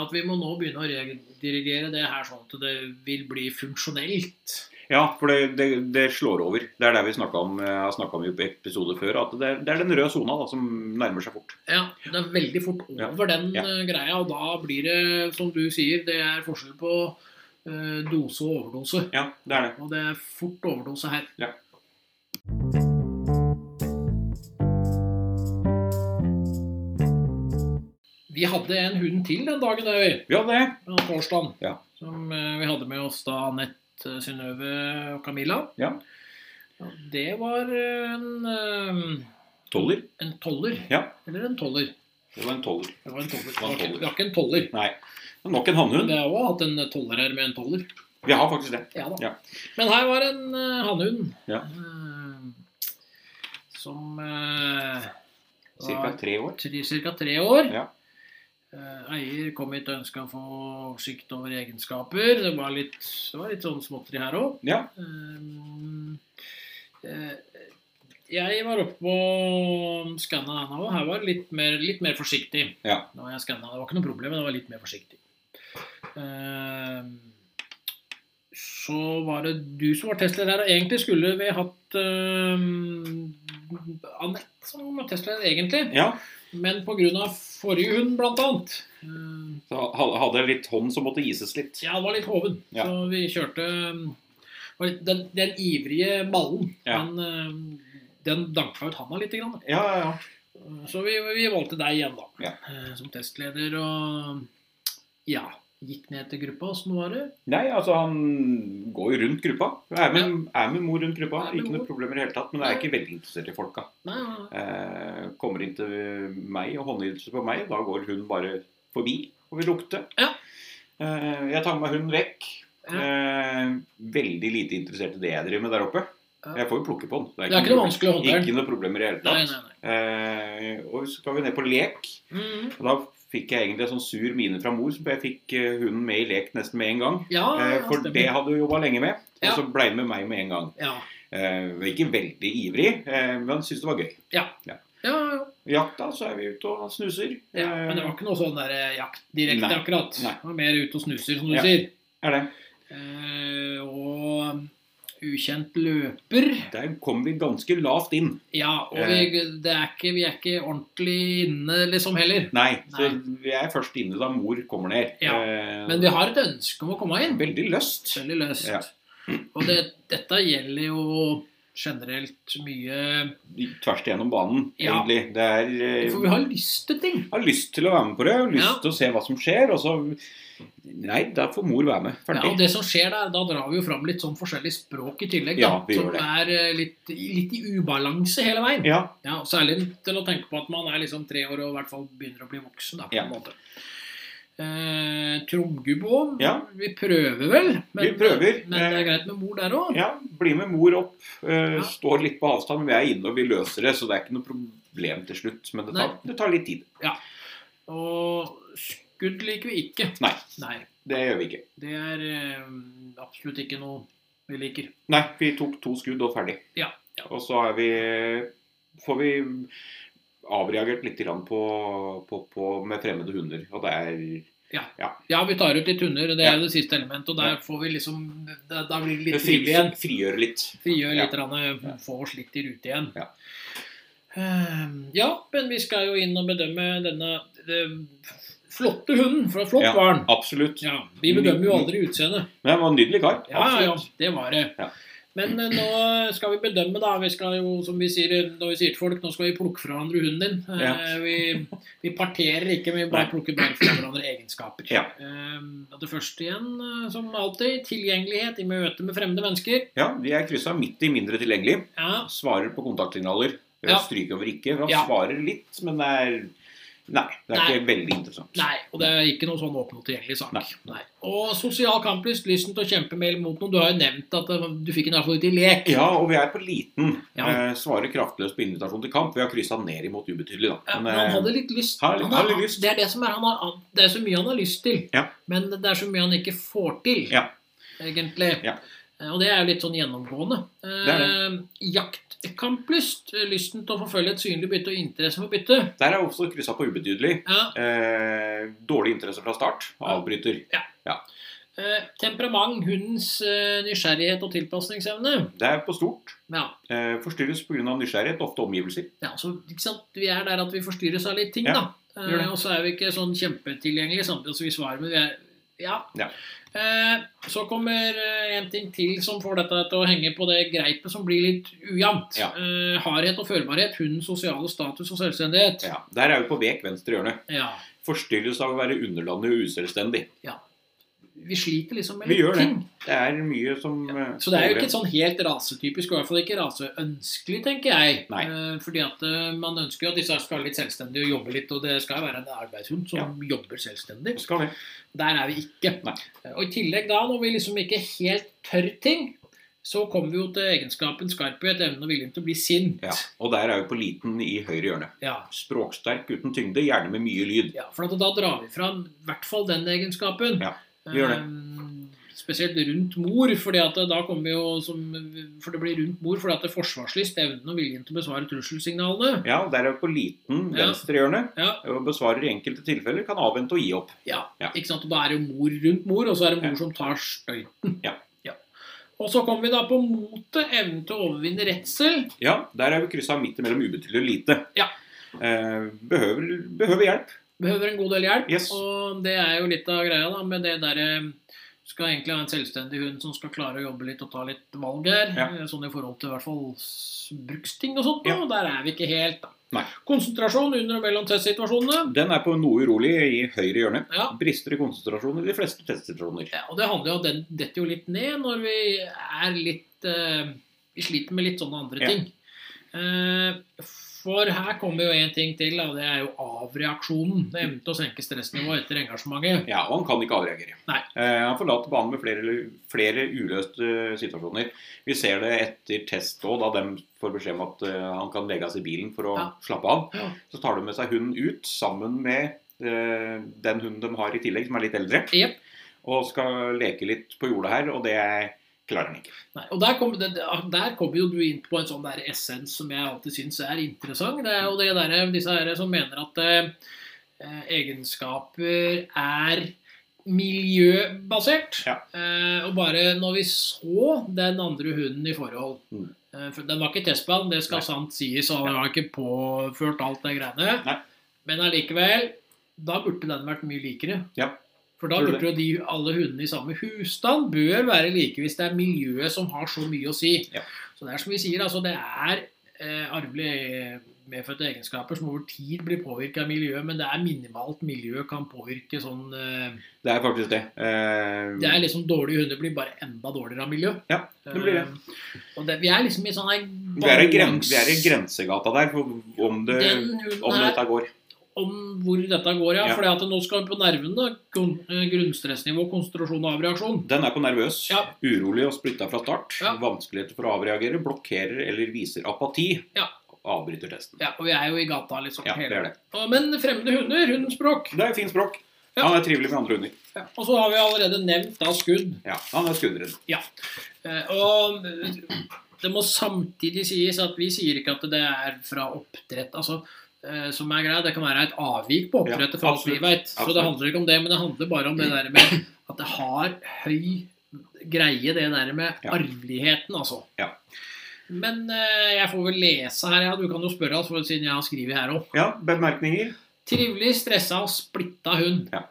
Speaker 1: at vi må nå begynne å redirigere det her sånn at det vil bli funksjonelt.
Speaker 2: Ja, for det, det, det slår over. Det er det vi snakket om, jeg har snakka om i episoder før. At det, er- det er den røde sona da, som nærmer seg fort.
Speaker 1: Ja, det er veldig fort over den
Speaker 2: Ja.
Speaker 1: eh, greia, og da blir det, som du sier, det er forskjell på eh, dose og overdose.
Speaker 2: Ja, det er det.
Speaker 1: Og det er fort overdose her.
Speaker 2: Ja.
Speaker 1: Vi hadde en hund til den dagen, Øy.
Speaker 2: Ja, det.
Speaker 1: på torsdagen.
Speaker 2: Ja.
Speaker 1: Som eh, vi hadde med oss da Anette, eh, Synnøve og Camilla.
Speaker 2: Ja.
Speaker 1: Og Det var en, eh,
Speaker 2: Toller.
Speaker 1: en toller.
Speaker 2: Ja.
Speaker 1: Eller en toller.
Speaker 2: Det var en toller.
Speaker 1: Det var en toller.
Speaker 2: Det var en toller.
Speaker 1: Det var ikke en toller.
Speaker 2: Nei. Men Nok en hannhund.
Speaker 1: Vi har også hatt en toller her med en toller.
Speaker 2: Vi har faktisk det.
Speaker 1: Ja da.
Speaker 2: Ja.
Speaker 1: Men her var en uh, hannhund
Speaker 2: Ja.
Speaker 1: eh, som eh,
Speaker 2: Cirka tre år.
Speaker 1: tre, cirka tre år.
Speaker 2: Ja.
Speaker 1: Eh, Eier kom hit og ønska å få oversikt over egenskaper. Det var litt, det var litt sånn småtteri her òg.
Speaker 2: Ja.
Speaker 1: eh, jeg var oppe på skanna denne òg. Her var det litt mer, litt mer forsiktig.
Speaker 2: Ja.
Speaker 1: Da var jeg skanna. Det var ikke noe problem, men det var litt mer forsiktig. Eh, så var det du som var testleder her. og Egentlig skulle vi hatt eh, Anette som var testleder, egentlig.
Speaker 2: ja.
Speaker 1: Men pga. forrige hund, blant annet. eh,
Speaker 2: Så ha- hadde jeg litt hånd som måtte ises litt.
Speaker 1: Ja, det var litt hoven.
Speaker 2: Ja.
Speaker 1: Så vi kjørte um, var litt- den, den ivrige ballen.
Speaker 2: Ja.
Speaker 1: Den, um, den danka ut handa litt. Grann.
Speaker 2: Ja, ja, ja.
Speaker 1: Uh, Så vi, vi valgte deg igjen, da.
Speaker 2: Ja.
Speaker 1: uh, Som testleder og ja. Gikk ned til gruppa, åssen var det?
Speaker 2: Nei, altså han går jo rundt gruppa. Er med, er med mor rundt gruppa.
Speaker 1: Er med
Speaker 2: Ikke
Speaker 1: mor.
Speaker 2: noe problemer i det hele tatt. Men jeg er ikke veldig interessert i folka.
Speaker 1: Nei, nei, nei.
Speaker 2: Eh, kommer inn til meg og håndytelser på meg, da går hun bare forbi og vil lukte.
Speaker 1: Ja.
Speaker 2: Eh, jeg tar med meg hunden vekk.
Speaker 1: Ja.
Speaker 2: Eh, veldig lite interessert i det jeg driver med der oppe.
Speaker 1: Ja.
Speaker 2: Jeg får jo plukke på den.
Speaker 1: Det er ikke noe
Speaker 2: problem.
Speaker 1: vanskelig å håndtere den.
Speaker 2: Ikke noe problemer i det hele
Speaker 1: Nei,
Speaker 2: tatt.
Speaker 1: nei, nei.
Speaker 2: Eh, og så skal vi ned på lek.
Speaker 1: Mhm.
Speaker 2: Og da fikk jeg egentlig en sånn sur mine fra mor, så jeg fikk eh, hunden med i lek nesten med en gang.
Speaker 1: Ja,
Speaker 2: Eh,
Speaker 1: ja,
Speaker 2: For
Speaker 1: stemmer.
Speaker 2: det hadde hun jobba lenge med, og
Speaker 1: Ja.
Speaker 2: så blei hun med meg med en gang.
Speaker 1: ja.
Speaker 2: Eh, Ikke veldig ivrig, eh, men syntes det var gøy.
Speaker 1: Ja, ja.
Speaker 2: Jakta, så er vi ute og snuser.
Speaker 1: ja, men det var ikke noe sånn der eh, jakt direkte,
Speaker 2: Nei,
Speaker 1: akkurat.
Speaker 2: nei.
Speaker 1: Det var mer ut og snuser, som du
Speaker 2: Ja.
Speaker 1: sier.
Speaker 2: Er det.
Speaker 1: Eh, og um, ukjent løper.
Speaker 2: Der kom vi ganske lavt inn.
Speaker 1: Ja, og vi,
Speaker 2: Eh.
Speaker 1: det er ikke, vi er ikke ordentlig inne liksom heller.
Speaker 2: Nei, så vi er først inne da mor kommer ned.
Speaker 1: Ja,
Speaker 2: Eh,
Speaker 1: Men vi har et ønske om å komme inn.
Speaker 2: Veldig lyst.
Speaker 1: Veldig løst.
Speaker 2: Ja.
Speaker 1: Og det, dette gjelder jo generelt mye
Speaker 2: Tvers igjennom banen,
Speaker 1: Ja.
Speaker 2: egentlig. Det er eh,
Speaker 1: For vi har lyst til ting.
Speaker 2: har lyst til å være med på det, har
Speaker 1: Ja.
Speaker 2: lyst til å se hva som skjer, og så Nei, da får mor være med.
Speaker 1: Ja, og
Speaker 2: Ferdig.
Speaker 1: det som skjer der, Da drar vi jo fram litt sånn forskjellig språk i tillegg.
Speaker 2: Ja, vi
Speaker 1: da, som
Speaker 2: gjør det.
Speaker 1: er eh, litt, litt i ubalanse hele veien.
Speaker 2: Ja,
Speaker 1: Ja, og Særlig til å tenke på at man er liksom tre år og i hvert fall begynner å bli voksen. da, på
Speaker 2: Ja.
Speaker 1: en måte. Eh, Tromgubbo
Speaker 2: Ja.
Speaker 1: Vi prøver vel.
Speaker 2: Vi prøver. Eh,
Speaker 1: Men det er greit med mor der òg.
Speaker 2: ja, bli med mor opp. eh, Står litt på avstand, men vi er inne og vi løser det, så det er ikke noe problem til slutt. Men det tar, det tar litt tid.
Speaker 1: Og skudd liker vi ikke.
Speaker 2: Nei,
Speaker 1: Nei.
Speaker 2: det gjør vi ikke.
Speaker 1: Det er eh, absolutt ikke noe vi liker.
Speaker 2: Nei, vi tok to skudd og ferdig.
Speaker 1: Ja, ja.
Speaker 2: Og så er vi får vi avreagert litt grann på, på, på med fremmede hunder. Og det er
Speaker 1: Ja, vi tar ut litt hunder. Det er
Speaker 2: Ja.
Speaker 1: jo det siste elementet. Og der får vi liksom Da, da blir det litt
Speaker 2: Fri-
Speaker 1: frivillig igjen.
Speaker 2: Frigjøre litt.
Speaker 1: Frigjør
Speaker 2: Ja.
Speaker 1: litt, rann, få oss litt i rute igjen.
Speaker 2: Ja.
Speaker 1: Ehm, ja, men vi skal jo inn og bedømme denne eh, flotte hunden fra Flott
Speaker 2: Ja.
Speaker 1: Barn.
Speaker 2: Absolutt.
Speaker 1: Ja, vi bedømmer jo aldri utseendet.
Speaker 2: Men han var en nydelig kar.
Speaker 1: Ja, ja,
Speaker 2: Absolutt.
Speaker 1: det var det.
Speaker 2: Ja.
Speaker 1: Men eh, nå skal vi bedømme, da. Vi skal jo, som vi sier eh, når vi sier til folk, nå skal vi plukke fra hverandre hunden din. Eh,
Speaker 2: Ja.
Speaker 1: Vi, vi parterer ikke, vi
Speaker 2: Nei.
Speaker 1: bare plukker bare fra hverandre egenskaper.
Speaker 2: Ja.
Speaker 1: Eh, og det første igjen, eh, som alltid, tilgjengelighet i møte med fremmede mennesker.
Speaker 2: Ja, de er kryssa midt i mindre tilgjengelig.
Speaker 1: Ja,
Speaker 2: Svarer på kontaktsignaler.
Speaker 1: Ja.
Speaker 2: Ja. Stryker over ikke. Han
Speaker 1: Ja.
Speaker 2: svarer litt, men det er Nei, det er
Speaker 1: Nei.
Speaker 2: ikke veldig interessant.
Speaker 1: Nei, og det er ikke noen sånn åpen og tilgjengelig sak.
Speaker 2: Nei.
Speaker 1: Og sosial kamplyst, lysten til å kjempe med eller mot noen. Du har jo nevnt at eh, du fikk den iallfall ut i lek.
Speaker 2: Ja, og vi er på liten.
Speaker 1: Ja.
Speaker 2: Eh, svarer kraftløst på invitasjon til kamp. Vi har kryssa ned imot ubetydelig, da.
Speaker 1: Ja,
Speaker 2: Men,
Speaker 1: Men han
Speaker 2: eh,
Speaker 1: hadde litt lyst.
Speaker 2: han- han hadde
Speaker 1: har-
Speaker 2: lyst.
Speaker 1: Det er det som er, han har, det er så mye han har lyst til.
Speaker 2: Ja.
Speaker 1: Men det er så mye han ikke får til,
Speaker 2: Ja.
Speaker 1: egentlig.
Speaker 2: Ja.
Speaker 1: Eh, Og det er jo litt sånn gjennomgående.
Speaker 2: er
Speaker 1: Eh, jaktkamplyst. eh, Lysten til å forfølge et synlig bytte og interesse for bytte.
Speaker 2: eh, Der er også kryssa på ubetydelig.
Speaker 1: Ja.
Speaker 2: Eh, dårlig interesse fra start. Avbryter.
Speaker 1: Eh, temperament. Hundens eh, nysgjerrighet og tilpasningsevne.
Speaker 2: Det er på stort.
Speaker 1: Ja.
Speaker 2: Eh, forstyrres pga. nysgjerrighet, ofte omgivelser.
Speaker 1: ja, så ikke sant? Vi er der at vi forstyrres av litt ting,
Speaker 2: Ja,
Speaker 1: da.
Speaker 2: gjør det.
Speaker 1: Eh, og så er vi ikke sånn kjempetilgjengelige samtidig som vi svarer, men vi er Ja.
Speaker 2: Ja.
Speaker 1: Eh, så kommer eh, en ting til som får dette til å henge på det greipet som blir litt ujevnt.
Speaker 2: Ja.
Speaker 1: Eh, hardhet og førbarhet, hundens sosiale status og selvstendighet.
Speaker 2: Ja, Der er vi på vek venstre hjørne.
Speaker 1: Ja.
Speaker 2: Forstyrres av å være underlandig og uselvstendig.
Speaker 1: Vi sliter liksom med
Speaker 2: Vi
Speaker 1: litt
Speaker 2: gjør det.
Speaker 1: ting.
Speaker 2: Det er mye som eh,
Speaker 1: Så det er jo ikke
Speaker 2: går igjen.
Speaker 1: et sånn helt rasetypisk, og i hvert fall ikke raseønskelig, tenker jeg.
Speaker 2: Nei.
Speaker 1: Eh, Fordi at eh, man ønsker jo at disse skal være litt selvstendige og jobbe litt, og det skal jo være en arbeidshund som jobber selvstendig.
Speaker 2: Skal det.
Speaker 1: Der er vi ikke.
Speaker 2: Nei.
Speaker 1: Og I tillegg da, når vi liksom ikke helt tør ting, så kommer vi jo til egenskapen skarphet, evnen og viljen til å bli sint.
Speaker 2: Ja. Og der er vi på liten i høyre hjørne.
Speaker 1: Ja.
Speaker 2: Språksterk uten tyngde, gjerne med mye lyd.
Speaker 1: Ja, for at da drar vi fram i hvert fall den egenskapen.
Speaker 2: Ja, vi gjør det.
Speaker 1: Ehm, Spesielt rundt mor, fordi at da kommer vi jo som, for det blir rundt mor fordi at det er forsvarslyst, evnen og viljen til å besvare trusselsignalene.
Speaker 2: Ja, og der er vi på liten
Speaker 1: Ja.
Speaker 2: venstre hjørne.
Speaker 1: Ja,
Speaker 2: Og besvarer i enkelte tilfeller, kan avvente og gi opp.
Speaker 1: Ja,
Speaker 2: Ja.
Speaker 1: ikke sant? Og da er det jo mor rundt mor, og så er det mor
Speaker 2: Ja.
Speaker 1: som tar støyten.
Speaker 2: Ja.
Speaker 1: Og så kommer vi da på motet, evnen til å overvinne redsel.
Speaker 2: Ja, der er vi kryssa midt mellom ubetydelig og lite.
Speaker 1: Ja.
Speaker 2: Eh, behøver, behøver hjelp.
Speaker 1: Behøver en god del hjelp.
Speaker 2: Yes.
Speaker 1: Og det er jo litt av greia da, med det derre Skal egentlig ha en selvstendig hund som skal klare å jobbe litt og ta litt valg her.
Speaker 2: Ja.
Speaker 1: eh, Sånn i forhold til i hvert fall s- bruksting og sånt.
Speaker 2: Ja.
Speaker 1: Og der er vi ikke helt, da.
Speaker 2: Nei.
Speaker 1: Konsentrasjon under og mellom testsituasjonene.
Speaker 2: Den er på noe urolig i høyre hjørne.
Speaker 1: Ja.
Speaker 2: Brister i konsentrasjon i de fleste testsituasjoner.
Speaker 1: Ja, og det handler jo om at den detter jo litt ned når vi er litt eh, Vi sliter med litt sånne andre
Speaker 2: Ja.
Speaker 1: ting. Eh, for her kommer jo en ting til, da, og det er jo avreaksjonen. Evnen til å senke stressnivået etter engasjementet.
Speaker 2: Ja, og han kan ikke avreagere.
Speaker 1: Nei.
Speaker 2: Eh, han forlater banen med flere, flere uløste eh, situasjoner. Vi ser det etter test òg, da de får beskjed om at eh, han kan legge av seg i bilen for å
Speaker 1: Ja.
Speaker 2: slappe av.
Speaker 1: Ja.
Speaker 2: Så tar de med seg hunden ut sammen med eh, den hunden de har i tillegg, som er litt eldre,
Speaker 1: Jep.
Speaker 2: og skal leke litt på jorda her, og det klarer han ikke.
Speaker 1: Nei, og der kommer det- ah, der kommer jo du inn på en sånn der essens som jeg alltid syns er interessant. Det er jo det der, disse her som mener at eh, eh, egenskaper er miljøbasert.
Speaker 2: Ja.
Speaker 1: Eh, og bare når vi så den andre hunden i forhold
Speaker 2: Mm.
Speaker 1: eh, for Den var ikke testball, det skal
Speaker 2: Nei.
Speaker 1: sant sies, og han har ikke påført alt det greiene.
Speaker 2: Nei.
Speaker 1: Men allikevel, da burde den vært mye likere.
Speaker 2: Ja.
Speaker 1: For da
Speaker 2: Tror du
Speaker 1: burde jo de, alle hundene i samme husstand bør være like hvis det er miljøet som har så mye å si.
Speaker 2: Ja.
Speaker 1: Så det er som vi sier, altså det er eh, arvelige medfødte egenskaper som over tid blir påvirka av miljøet, men det er minimalt miljø kan påvirke sånn eh,
Speaker 2: Det er faktisk det. Eh,
Speaker 1: Det er liksom dårlige hunder blir bare enda dårligere av miljø.
Speaker 2: Ja, det blir det.
Speaker 1: Eh, og det, vi er liksom i sånn her
Speaker 2: vi, er i gren,
Speaker 1: balans-
Speaker 2: vi er i grensegata der for om, det,
Speaker 1: Den hunden
Speaker 2: om
Speaker 1: her
Speaker 2: dette går.
Speaker 1: om hvor dette går, ja.
Speaker 2: Ja.
Speaker 1: Fordi at nå skal vi på nervene. kon- eh, Grunnstressnivå, konsentrasjon og avreaksjon.
Speaker 2: Den er på nervøs,
Speaker 1: Ja.
Speaker 2: urolig og splitta fra start.
Speaker 1: Ja.
Speaker 2: Vanskeligheter for å avreagere, blokkerer eller viser apati.
Speaker 1: Ja.
Speaker 2: Avbryter testen.
Speaker 1: Ja, og vi er jo i gata liksom
Speaker 2: Ja, det
Speaker 1: hele
Speaker 2: er det.
Speaker 1: Å, Men fremmede hunder, hundespråk.
Speaker 2: Det er fint språk.
Speaker 1: Ja.
Speaker 2: Han er trivelig med andre hunder.
Speaker 1: Og så har vi allerede nevnt da skudd.
Speaker 2: Ja, han er skulderen.
Speaker 1: Eh, Og eh, det må samtidig sies at vi sier ikke at det er fra oppdrett. Altså, eh, som er greia. Det kan være et avvik på oppdrettet,
Speaker 2: Ja,
Speaker 1: for alt vi
Speaker 2: absolutt.
Speaker 1: vet. Så det
Speaker 2: Absolutt.
Speaker 1: handler ikke om det, men det handler bare om det der med at det har høy greie, det der med
Speaker 2: Ja.
Speaker 1: arveligheten, altså.
Speaker 2: Ja.
Speaker 1: Men eh, jeg får vel lese her, ja. Du kan jo spørre, altså, for siden jeg har skrevet her òg.
Speaker 2: Ja, bemerkninger?
Speaker 1: Trivelig, stressa og splitta hund.
Speaker 2: Ja.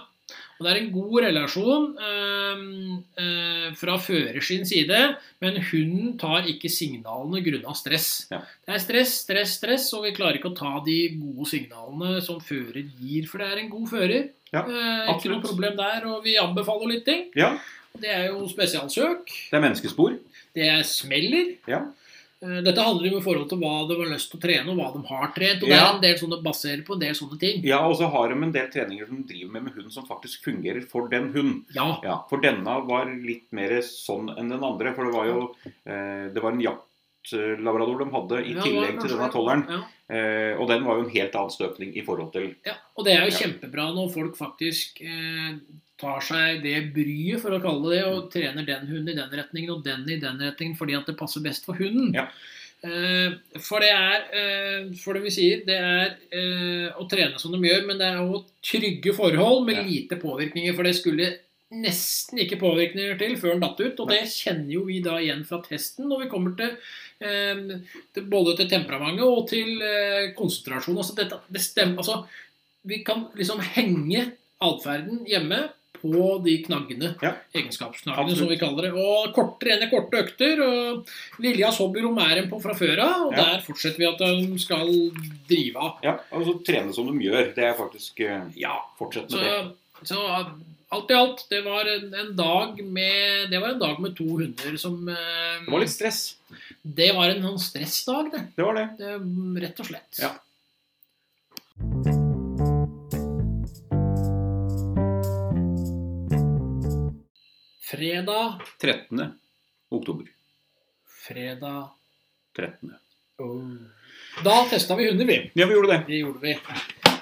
Speaker 1: Og det er en god relasjon øhm, øh, fra fører sin side, men hunden tar ikke signalene grunna stress.
Speaker 2: Ja.
Speaker 1: Det er stress, stress, stress, og vi klarer ikke å ta de gode signalene som fører gir, for det er en god fører.
Speaker 2: Ja,
Speaker 1: Eh, ikke
Speaker 2: absolutt.
Speaker 1: noe problem der, og vi anbefaler lytting.
Speaker 2: Ja,
Speaker 1: Det er jo spesialsøk.
Speaker 2: det er menneskespor.
Speaker 1: Det er smeller.
Speaker 2: Ja.
Speaker 1: Eh, Dette handler jo i forhold til hva de har lyst til å trene, og hva de har trent. Og det
Speaker 2: Ja.
Speaker 1: er en del sånne baserer på en del sånne ting.
Speaker 2: Ja, og så har de en del treninger som driver med med hund som faktisk fungerer for den hunden.
Speaker 1: Ja.
Speaker 2: Ja, for denne var litt mer sånn enn den andre, for det var jo eh, det var en jaktlabrador de hadde i
Speaker 1: Ja, det var
Speaker 2: tillegg til
Speaker 1: kanskje
Speaker 2: denne
Speaker 1: det.
Speaker 2: tolleren.
Speaker 1: Ja.
Speaker 2: Eh, og den var jo en helt annen støpning i forhold til
Speaker 1: Ja, og det er jo
Speaker 2: Ja.
Speaker 1: kjempebra når folk faktisk eh, tar seg det bryet, for å kalle det det, og
Speaker 2: Mm.
Speaker 1: trener den hunden i den retningen og den i den retningen fordi at det passer best for hunden.
Speaker 2: Ja.
Speaker 1: Eh, for det er, eh, for det vi sier, det er eh, å trene som de gjør, men det er jo trygge forhold med
Speaker 2: Ja.
Speaker 1: lite påvirkninger, for det skulle nesten ikke påvirkninger til før den datt ut, og
Speaker 2: Nei.
Speaker 1: det kjenner jo vi da igjen fra testen når vi kommer til eh, til- både til temperamentet og til eh, konsentrasjon. Altså, dette, det stemmer, altså, vi kan liksom henge atferden hjemme på de knaggene,
Speaker 2: Ja.
Speaker 1: egenskapsknaggene
Speaker 2: Absolutt.
Speaker 1: som vi kaller det. Og kort trene korte økter. og Liljas hobbyrom er en på fra før av, og
Speaker 2: Ja.
Speaker 1: der fortsetter vi at de skal drive av.
Speaker 2: Ja, og så trene som de gjør. Det er faktisk eh,
Speaker 1: Ja,
Speaker 2: Fortsett med
Speaker 1: så,
Speaker 2: det.
Speaker 1: så alt i alt, det var en, en dag med Det var en dag med to hunder som eh,
Speaker 2: Det var litt stress.
Speaker 1: det var en sånn stressdag, det.
Speaker 2: Det var det.
Speaker 1: det. Eh, Rett og slett.
Speaker 2: Ja.
Speaker 1: Fredag
Speaker 2: 13. oktober.
Speaker 1: Fredag oh.
Speaker 2: 13.
Speaker 1: Da testa vi hunder, vi.
Speaker 2: Ja, vi gjorde det.
Speaker 1: Det gjorde vi.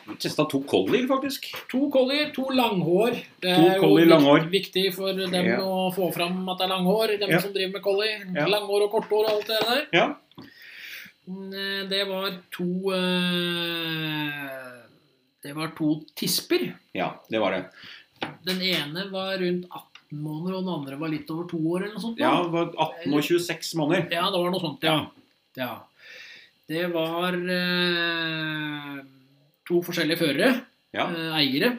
Speaker 2: Vi testa to collier, faktisk.
Speaker 1: To collier, to langhår. Det
Speaker 2: To collier,
Speaker 1: vik-
Speaker 2: langhår.
Speaker 1: viktig for dem
Speaker 2: Ja.
Speaker 1: å få fram at det er langhår. Dem
Speaker 2: Ja.
Speaker 1: som driver med collier.
Speaker 2: Ja.
Speaker 1: Langhår og korthår og alt det der.
Speaker 2: Ja.
Speaker 1: Mm, Det var to eh, Det var to tisper.
Speaker 2: Ja, det var det.
Speaker 1: Den ene var rundt 18 måneder, og den andre var litt over to år eller noe sånt.
Speaker 2: Ja,
Speaker 1: da.
Speaker 2: det var 18 og 26 måneder.
Speaker 1: ja det var noe sånt, ja. ja. Det var eh, to forskjellige førere,
Speaker 2: Ja.
Speaker 1: eh, eiere.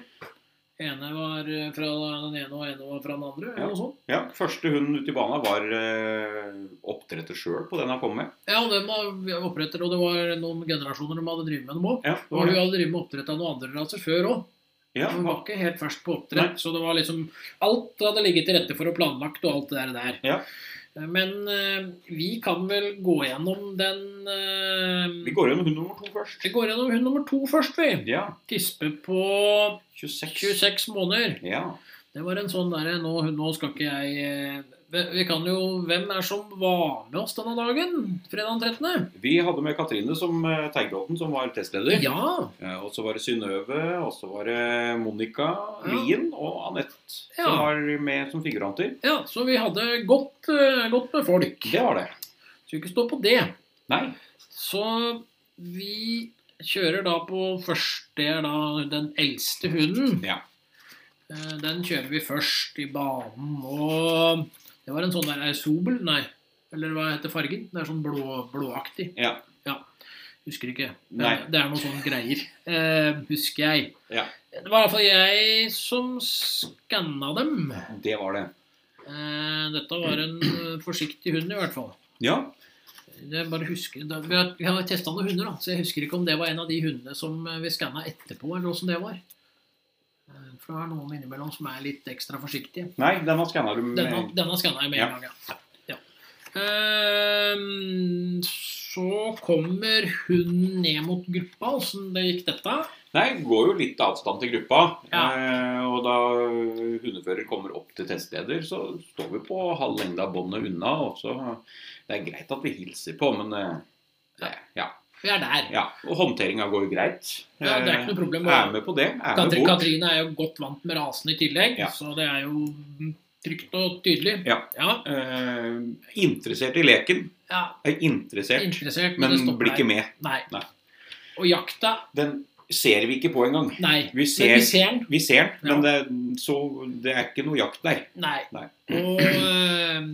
Speaker 1: Ene var eh, fra den ene, og ene var fra den andre.
Speaker 2: Ja.
Speaker 1: eller noe sånt.
Speaker 2: Ja, første hund ute i bana var eh, oppdretter sjøl på den han kom med.
Speaker 1: Ja, og dem var oppretter, og det var noen generasjoner de hadde drevet med dem òg.
Speaker 2: Ja, det
Speaker 1: Og
Speaker 2: var
Speaker 1: hun
Speaker 2: det.
Speaker 1: hadde drevet med oppdrett av noen andre raser før òg.
Speaker 2: Ja,
Speaker 1: Hun var
Speaker 2: ja,
Speaker 1: ikke helt fersk på oppdrett, så det var liksom Alt hadde ligget til rette for og planlagt og alt det der. der.
Speaker 2: Ja.
Speaker 1: Men eh, vi kan vel gå gjennom den eh,
Speaker 2: vi går gjennom hund nummer to først.
Speaker 1: Vi går gjennom hund nummer to først, vi.
Speaker 2: Ja,
Speaker 1: Tispe på
Speaker 2: 26.
Speaker 1: 26 måneder.
Speaker 2: Ja,
Speaker 1: Det var en sånn derre nå, nå skal ikke jeg eh, vi vi kan jo, Hvem er som var med oss denne dagen? Fredag den 13.?
Speaker 2: Vi hadde med Katrine som eh, Teigbråten, som var testleder.
Speaker 1: Ja.
Speaker 2: Eh, Og så var det Synnøve, og så var det Monica
Speaker 1: Ja.
Speaker 2: Lien og Anette som
Speaker 1: Ja.
Speaker 2: var med som figuranter.
Speaker 1: ja. Så vi hadde godt, eh, godt med folk.
Speaker 2: Det var det.
Speaker 1: Så ikke stå på det.
Speaker 2: Nei.
Speaker 1: Så vi kjører da på først Det er da den eldste hunden.
Speaker 2: Ja.
Speaker 1: Eh, Den kjører vi først i banen. Og det var en sånn der er det Sobel, nei. Eller hva heter fargen? Det er sånn blå, blåaktig.
Speaker 2: Ja.
Speaker 1: Husker ikke. Det er-
Speaker 2: Nei.
Speaker 1: Det er noe sånn greier. Eh, husker jeg.
Speaker 2: Ja.
Speaker 1: Det var i hvert fall jeg som skanna dem.
Speaker 2: Det var det.
Speaker 1: Eh, dette var en eh, forsiktig hund, i hvert fall.
Speaker 2: Ja.
Speaker 1: Jeg bare husker, da, vi har, vi har testa noen hunder, da, så jeg husker ikke om det var en av de hundene som eh, vi skanna etterpå, eller åssen det var. Eh, For det er noen innimellom som er litt ekstra forsiktige.
Speaker 2: Nei, denne skanna du med.
Speaker 1: Denne, denne skanna jeg med en gang, ja. ja. Ehm, så kommer hun ned mot gruppa, åssen det gikk dette.
Speaker 2: Nei, det går jo litt avstand til gruppa.
Speaker 1: Ja.
Speaker 2: Eh, og da hundefører kommer opp til teststeder, så står vi på halv lengde av båndet unna. Og så, det er greit at vi hilser på, men eh, det, ja,
Speaker 1: Vi er der.
Speaker 2: ja. Og håndteringa går jo greit.
Speaker 1: Ja, det er ikke noe problem.
Speaker 2: Eh, Er med på det. Er med
Speaker 1: Katri,
Speaker 2: bort.
Speaker 1: Katrine er jo godt vant med rasen i tillegg,
Speaker 2: Ja.
Speaker 1: så det er jo trygt og tydelig.
Speaker 2: Ja.
Speaker 1: ja.
Speaker 2: Eh, interessert i leken.
Speaker 1: ja.
Speaker 2: Er interessert,
Speaker 1: Interessert,
Speaker 2: men
Speaker 1: det stopper
Speaker 2: blir
Speaker 1: der.
Speaker 2: ikke med.
Speaker 1: Nei.
Speaker 2: Nei.
Speaker 1: Og jakta
Speaker 2: Den ser vi ikke på engang.
Speaker 1: Nei.
Speaker 2: Vi
Speaker 1: Men
Speaker 2: ser,
Speaker 1: vi ser den.
Speaker 2: vi ser den,
Speaker 1: Ja.
Speaker 2: men det, så, det er ikke noe jakt der.
Speaker 1: Nei.
Speaker 2: Nei.
Speaker 1: Og, eh,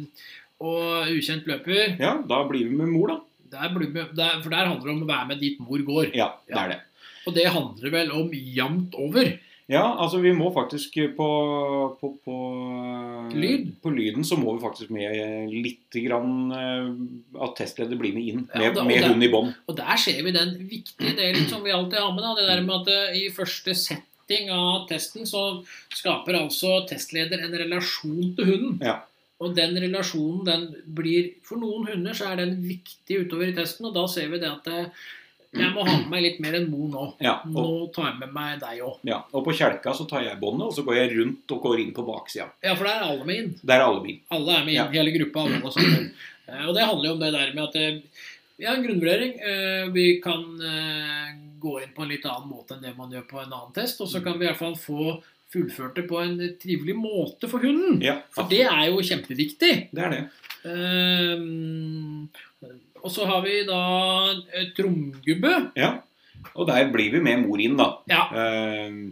Speaker 1: og ukjent løper
Speaker 2: Ja, da blir vi med mor, da.
Speaker 1: der blir, vi- der, For der handler det om å være med dit mor går.
Speaker 2: Ja, det er det.
Speaker 1: Og det handler vel om jevnt over.
Speaker 2: Ja, altså vi må faktisk på, på, på eh,
Speaker 1: Lyd?
Speaker 2: På lyden så må vi faktisk med litt grann eh, at testleder blir med inn.
Speaker 1: Ja,
Speaker 2: Med,
Speaker 1: det- og
Speaker 2: med
Speaker 1: det-
Speaker 2: hund i bånd.
Speaker 1: Og der ser vi den viktige delen som vi alltid har med. Da. Det der med at eh, i første setting av testen så skaper altså testleder en relasjon til hunden.
Speaker 2: Ja.
Speaker 1: Og den relasjonen den blir For noen hunder så er den viktig utover i testen, og da ser vi det at eh, jeg må ha med meg litt mer enn mor nå.
Speaker 2: Ja, og,
Speaker 1: Nå tar jeg med meg deg òg.
Speaker 2: ja, og på kjelka så tar jeg båndet, og så går jeg rundt og går inn på baksida.
Speaker 1: Ja, for der er alle med inn.
Speaker 2: Der er alle mine.
Speaker 1: Alle er med inn,
Speaker 2: Ja.
Speaker 1: hele gruppa. Alle og, sånn. Eh, og det handler jo om det der med at eh, vi har en grunnvurdering. eh, Vi kan eh, gå inn på en litt annen måte enn det man gjør på en annen test. Og så kan vi i hvert fall få fullført det på en trivelig måte for hunden.
Speaker 2: Ja,
Speaker 1: For det er jo kjempeviktig.
Speaker 2: det er det.
Speaker 1: Eh, og så har vi da eh, tromgubbe.
Speaker 2: Ja. Og der blir vi med mor inn, da.
Speaker 1: Ja,
Speaker 2: Eh,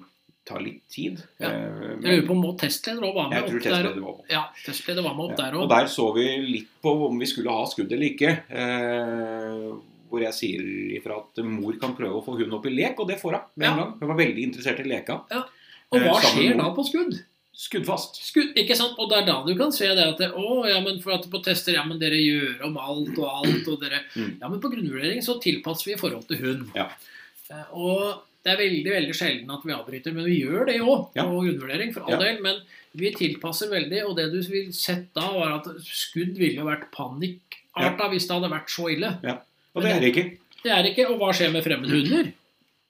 Speaker 2: tar litt tid.
Speaker 1: Ja.
Speaker 2: Eh,
Speaker 1: jeg lurer på om må testleder òg være
Speaker 2: jeg
Speaker 1: med
Speaker 2: tror
Speaker 1: opp der.
Speaker 2: testleder var på.
Speaker 1: Ja, testleder var med opp der
Speaker 2: Ja, Og
Speaker 1: òg.
Speaker 2: der så vi litt på om vi skulle ha skudd eller ikke. Eh, hvor jeg sier ifra at mor kan prøve å få hunden opp i lek, og det får hun. med en
Speaker 1: Ja.
Speaker 2: gang. Hun var veldig interessert i leka.
Speaker 1: Og hva
Speaker 2: eh, sammen
Speaker 1: skjer
Speaker 2: med-
Speaker 1: da på skudd?
Speaker 2: Skuddfast.
Speaker 1: Skudd, ikke sant? Og det er da du kan se det at det, Å, ja, men for at på tester Ja, men dere gjør om alt og alt og dere
Speaker 2: Mm.
Speaker 1: Ja, men på grunnvurdering så tilpasser vi i forhold til hund.
Speaker 2: Ja.
Speaker 1: Eh, Og det er veldig veldig sjelden at vi avbryter, men vi gjør det òg
Speaker 2: Ja.
Speaker 1: på grunnvurdering. for all
Speaker 2: Ja.
Speaker 1: del, Men vi tilpasser veldig, og det du ville sett da, var at skudd ville jo vært panikkarta hvis det hadde vært så ille.
Speaker 2: Og det er det ikke.
Speaker 1: Det er ikke Og hva skjer med fremmede hunder?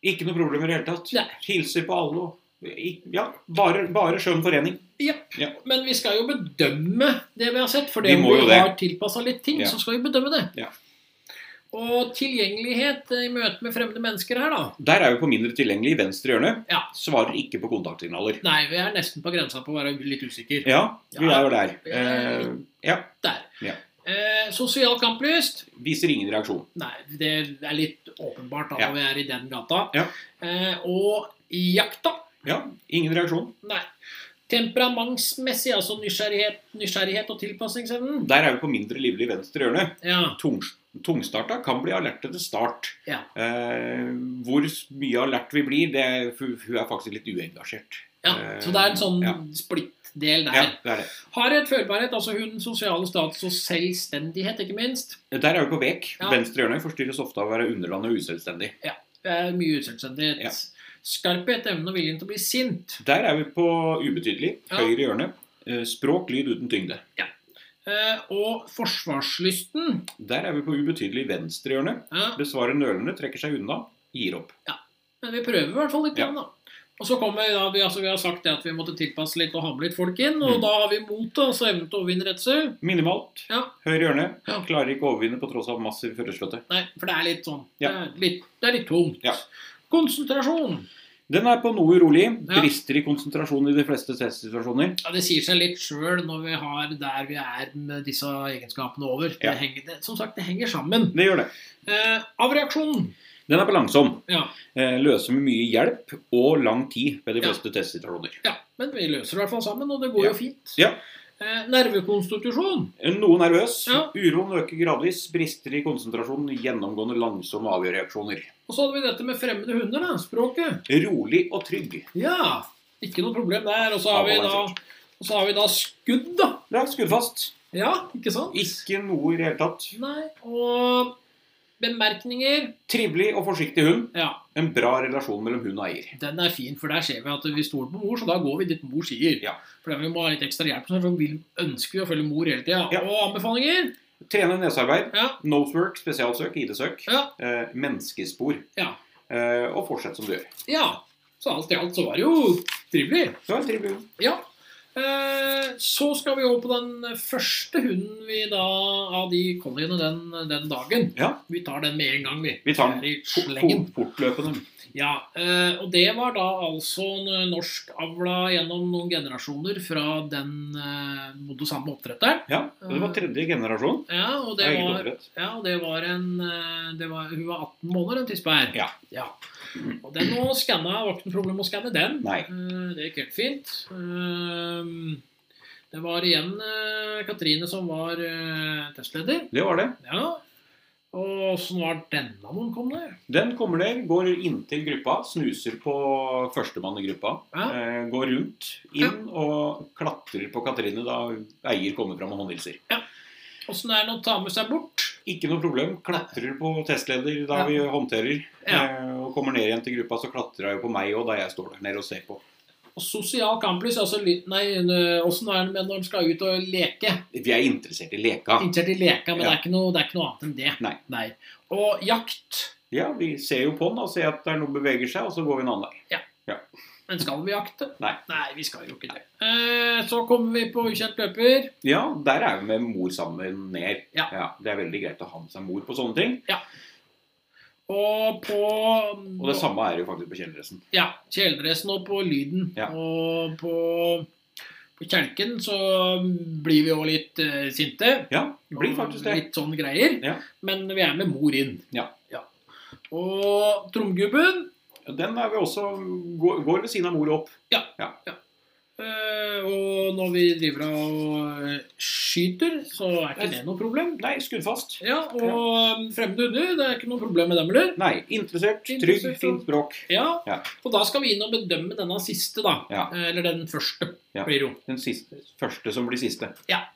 Speaker 2: Ikke noe problem i det hele tatt.
Speaker 1: Nei.
Speaker 2: Hilser på alle. og- i- Ja, bare, bare skjønn forening.
Speaker 1: Jepp.
Speaker 2: Ja.
Speaker 1: Men vi skal jo bedømme det vi har sett. For
Speaker 2: Vi
Speaker 1: det om
Speaker 2: må
Speaker 1: vi
Speaker 2: jo det.
Speaker 1: har tilpassa litt ting,
Speaker 2: Ja.
Speaker 1: så skal vi bedømme det.
Speaker 2: Ja.
Speaker 1: Og tilgjengelighet eh, i møte med fremmede mennesker her, da.
Speaker 2: Der er vi på mindre tilgjengelig i venstre hjørne.
Speaker 1: Ja.
Speaker 2: Svarer ikke på kontaktsignaler.
Speaker 1: Nei, vi er nesten på grensa på å være litt usikker.
Speaker 2: Ja, vi
Speaker 1: Ja.
Speaker 2: er jo der. Eh,
Speaker 1: Eh,
Speaker 2: ja.
Speaker 1: Der.
Speaker 2: Ja.
Speaker 1: Eh, sosial kamplyst?
Speaker 2: Viser ingen reaksjon.
Speaker 1: Nei, det er litt åpenbart da
Speaker 2: Ja.
Speaker 1: når vi er i den gata.
Speaker 2: Ja.
Speaker 1: Eh, og jakta?
Speaker 2: Ja, ingen reaksjon.
Speaker 1: Nei. Temperamentsmessig, altså nysgjerrighet, nysgjerrighet og tilpasningsevnen?
Speaker 2: Der er vi på mindre livlig venstre hjørne.
Speaker 1: Ja.
Speaker 2: tung, tungstarta kan bli alerte til start.
Speaker 1: Ja.
Speaker 2: Eh, hvor s- mye alert vi blir, det, hun hun er faktisk litt uengasjert.
Speaker 1: ja. Så det er en sånn
Speaker 2: Eh, Ja.
Speaker 1: splittdel der.
Speaker 2: Ja, det er det.
Speaker 1: Hardhet, førbarhet, altså hundens sosiale status og selvstendighet, ikke minst.
Speaker 2: Der er vi på vek.
Speaker 1: Ja.
Speaker 2: Venstre hjørne forstyrres ofte av å være underlandet og uselvstendig.
Speaker 1: Det er Eh, mye uselvstendighet.
Speaker 2: Ja.
Speaker 1: Skarphet, evnen og viljen til å bli sint.
Speaker 2: Der er vi på ubetydelig.
Speaker 1: Ja.
Speaker 2: Høyre hjørne. Eh, språk, lyd uten tyngde.
Speaker 1: Eh, og forsvarslysten.
Speaker 2: Der er vi på ubetydelig venstre hjørne.
Speaker 1: Ja,
Speaker 2: Besvarer nølende, trekker seg unna, gir opp.
Speaker 1: men vi prøver i hvert fall litt.
Speaker 2: Ja.
Speaker 1: igjen, da. Og så kommer da, vi, altså, vi har sagt det at vi måtte tilpasse litt og ha med litt folk inn. Og
Speaker 2: Mm.
Speaker 1: da har vi motet, altså evnen til å overvinne redsel.
Speaker 2: Minimalt.
Speaker 1: Ja.
Speaker 2: Høyre hjørne.
Speaker 1: Ja.
Speaker 2: Klarer ikke å overvinne på tross av massiv førerstøtte.
Speaker 1: Nei, for det er litt sånn.
Speaker 2: Ja.
Speaker 1: Det, er litt, det er litt tungt.
Speaker 2: Ja.
Speaker 1: Konsentrasjon.
Speaker 2: Den er på noe urolig.
Speaker 1: Ja.
Speaker 2: Brister i konsentrasjon i de fleste testsituasjoner.
Speaker 1: Ja, Det sier seg litt sjøl når vi har der vi er med disse egenskapene over.
Speaker 2: Ja.
Speaker 1: Det henger, det, som sagt, det henger sammen.
Speaker 2: Det gjør det.
Speaker 1: Eh, av reaksjonen.
Speaker 2: Den er på langsom.
Speaker 1: Ja.
Speaker 2: Eh, Løser med mye hjelp og lang tid ved de
Speaker 1: Ja.
Speaker 2: fleste testsituasjoner.
Speaker 1: Ja, men vi løser det i hvert fall sammen, og det går
Speaker 2: Ja.
Speaker 1: jo fint.
Speaker 2: Ja.
Speaker 1: Eh, nervekonstitusjon.
Speaker 2: Noe nervøs.
Speaker 1: Ja.
Speaker 2: Uroen øker gradvis. Brister i konsentrasjonen. Gjennomgående langsomme avgjørreaksjoner.
Speaker 1: Og så hadde vi dette med fremmede hunder, da. Språket.
Speaker 2: Rolig og trygg.
Speaker 1: Ja, ikke noe problem der. Og så har vi da, og så har vi da skudd, da.
Speaker 2: Det er skuddfast.
Speaker 1: Ja, ikke sant?
Speaker 2: Ikke noe i det hele tatt.
Speaker 1: Nei, og bemerkninger.
Speaker 2: Trivelig og forsiktig hund.
Speaker 1: Ja,
Speaker 2: En bra relasjon mellom hund og eier.
Speaker 1: den er fin, for der ser vi at vi stoler på mor, så da går vi dit mor sier.
Speaker 2: Ja.
Speaker 1: For da vi må ha litt ekstra hjelp, så vi ønsker vi å følge mor hele tida.
Speaker 2: Ja.
Speaker 1: Og anbefalinger.
Speaker 2: Trene nesearbeid.
Speaker 1: Ja.
Speaker 2: Nosework, spesialsøk, ID-søk.
Speaker 1: Ja.
Speaker 2: Eh, menneskespor.
Speaker 1: Ja.
Speaker 2: Eh, og fortsett som du gjør.
Speaker 1: ja. Så alt i alt så var det jo trivelig.
Speaker 2: Så en trivelig hund.
Speaker 1: Ja. Eh, Så skal vi over på den første hunden vi da av de colliene den, den dagen.
Speaker 2: Ja.
Speaker 1: Vi tar den med en gang, vi.
Speaker 2: Vi tar den.
Speaker 1: Vi er i slengen.
Speaker 2: Fort- Fortløpende.
Speaker 1: Ja, eh, og det var da altså en norskavla gjennom noen generasjoner fra den eh, både samme oppdretteren.
Speaker 2: Ja, det var tredje generasjon.
Speaker 1: Ja, og det
Speaker 2: av eget
Speaker 1: var,
Speaker 2: oppdrett.
Speaker 1: ja, og det var en eh, det var, Hun var 18 måneder, den tispa her.
Speaker 2: Ja.
Speaker 1: Og den må skanne, var ikke noe problem å skanne den.
Speaker 2: Nei.
Speaker 1: Eh, Det gikk helt fint. Eh, Det var igjen eh, Katrine som var eh, testleder.
Speaker 2: Det var det.
Speaker 1: Ja. Og åssen var denne noen kom det?
Speaker 2: Den kommer ned, går inntil gruppa, snuser på førstemann i gruppa.
Speaker 1: Ja.
Speaker 2: Eh, går rundt, inn og klatrer på Katrine da eier kommer fram og håndhilser.
Speaker 1: Åssen er det å ta med seg bort?
Speaker 2: Ikke noe problem. Klatrer på testleder da
Speaker 1: Ja.
Speaker 2: vi håndterer.
Speaker 1: Ja.
Speaker 2: Eh, og kommer ned igjen til gruppa, så klatrer hun på meg òg da jeg står der nede og ser på.
Speaker 1: Og Sosial kamplys, altså litt- Nei, åssen er det med når en skal ut og leke?
Speaker 2: Vi er interessert i leka.
Speaker 1: Interessert i leka, men
Speaker 2: Ja.
Speaker 1: det, er ikke noe, det er ikke noe annet enn det.
Speaker 2: Nei.
Speaker 1: Og jakt.
Speaker 2: Ja, vi ser jo på den og ser at det er noe beveger seg, og så går vi en annen vei.
Speaker 1: Men skal vi jakte?
Speaker 2: Nei.
Speaker 1: vi skal jo ikke det. Eh, så kommer vi på ukjent løper.
Speaker 2: Ja, der er vi med mor sammen ned.
Speaker 1: Ja.
Speaker 2: Det er veldig greit å ha med seg mor på sånne ting.
Speaker 1: Og på
Speaker 2: Og det samme er jo faktisk på kjeledressen.
Speaker 1: Ja. Kjeledressen og på lyden.
Speaker 2: Ja.
Speaker 1: Og på, på kjelken så blir vi jo litt eh, sinte.
Speaker 2: Ja, det blir faktisk det.
Speaker 1: Litt sånn greier.
Speaker 2: Ja.
Speaker 1: Men vi er med mor inn.
Speaker 2: Ja.
Speaker 1: Og tromgubben
Speaker 2: Den er vi også går, går ved siden av mor opp.
Speaker 1: eh, Og når vi driver og eh, skyter, så er ikke det noe problem.
Speaker 2: Nei, skuddfast.
Speaker 1: Ja, og um, fremmede hunder, det er ikke noe problem med dem heller.
Speaker 2: Nei, interessert, trygg,
Speaker 1: Interessert,
Speaker 2: fint språk.
Speaker 1: Ja.
Speaker 2: Ja.
Speaker 1: Og da skal vi inn og bedømme denne siste, da.
Speaker 2: Ja.
Speaker 1: Eh, Eller den første,
Speaker 2: Ja.
Speaker 1: blir jo.
Speaker 2: Den siste, første som blir siste. Ja.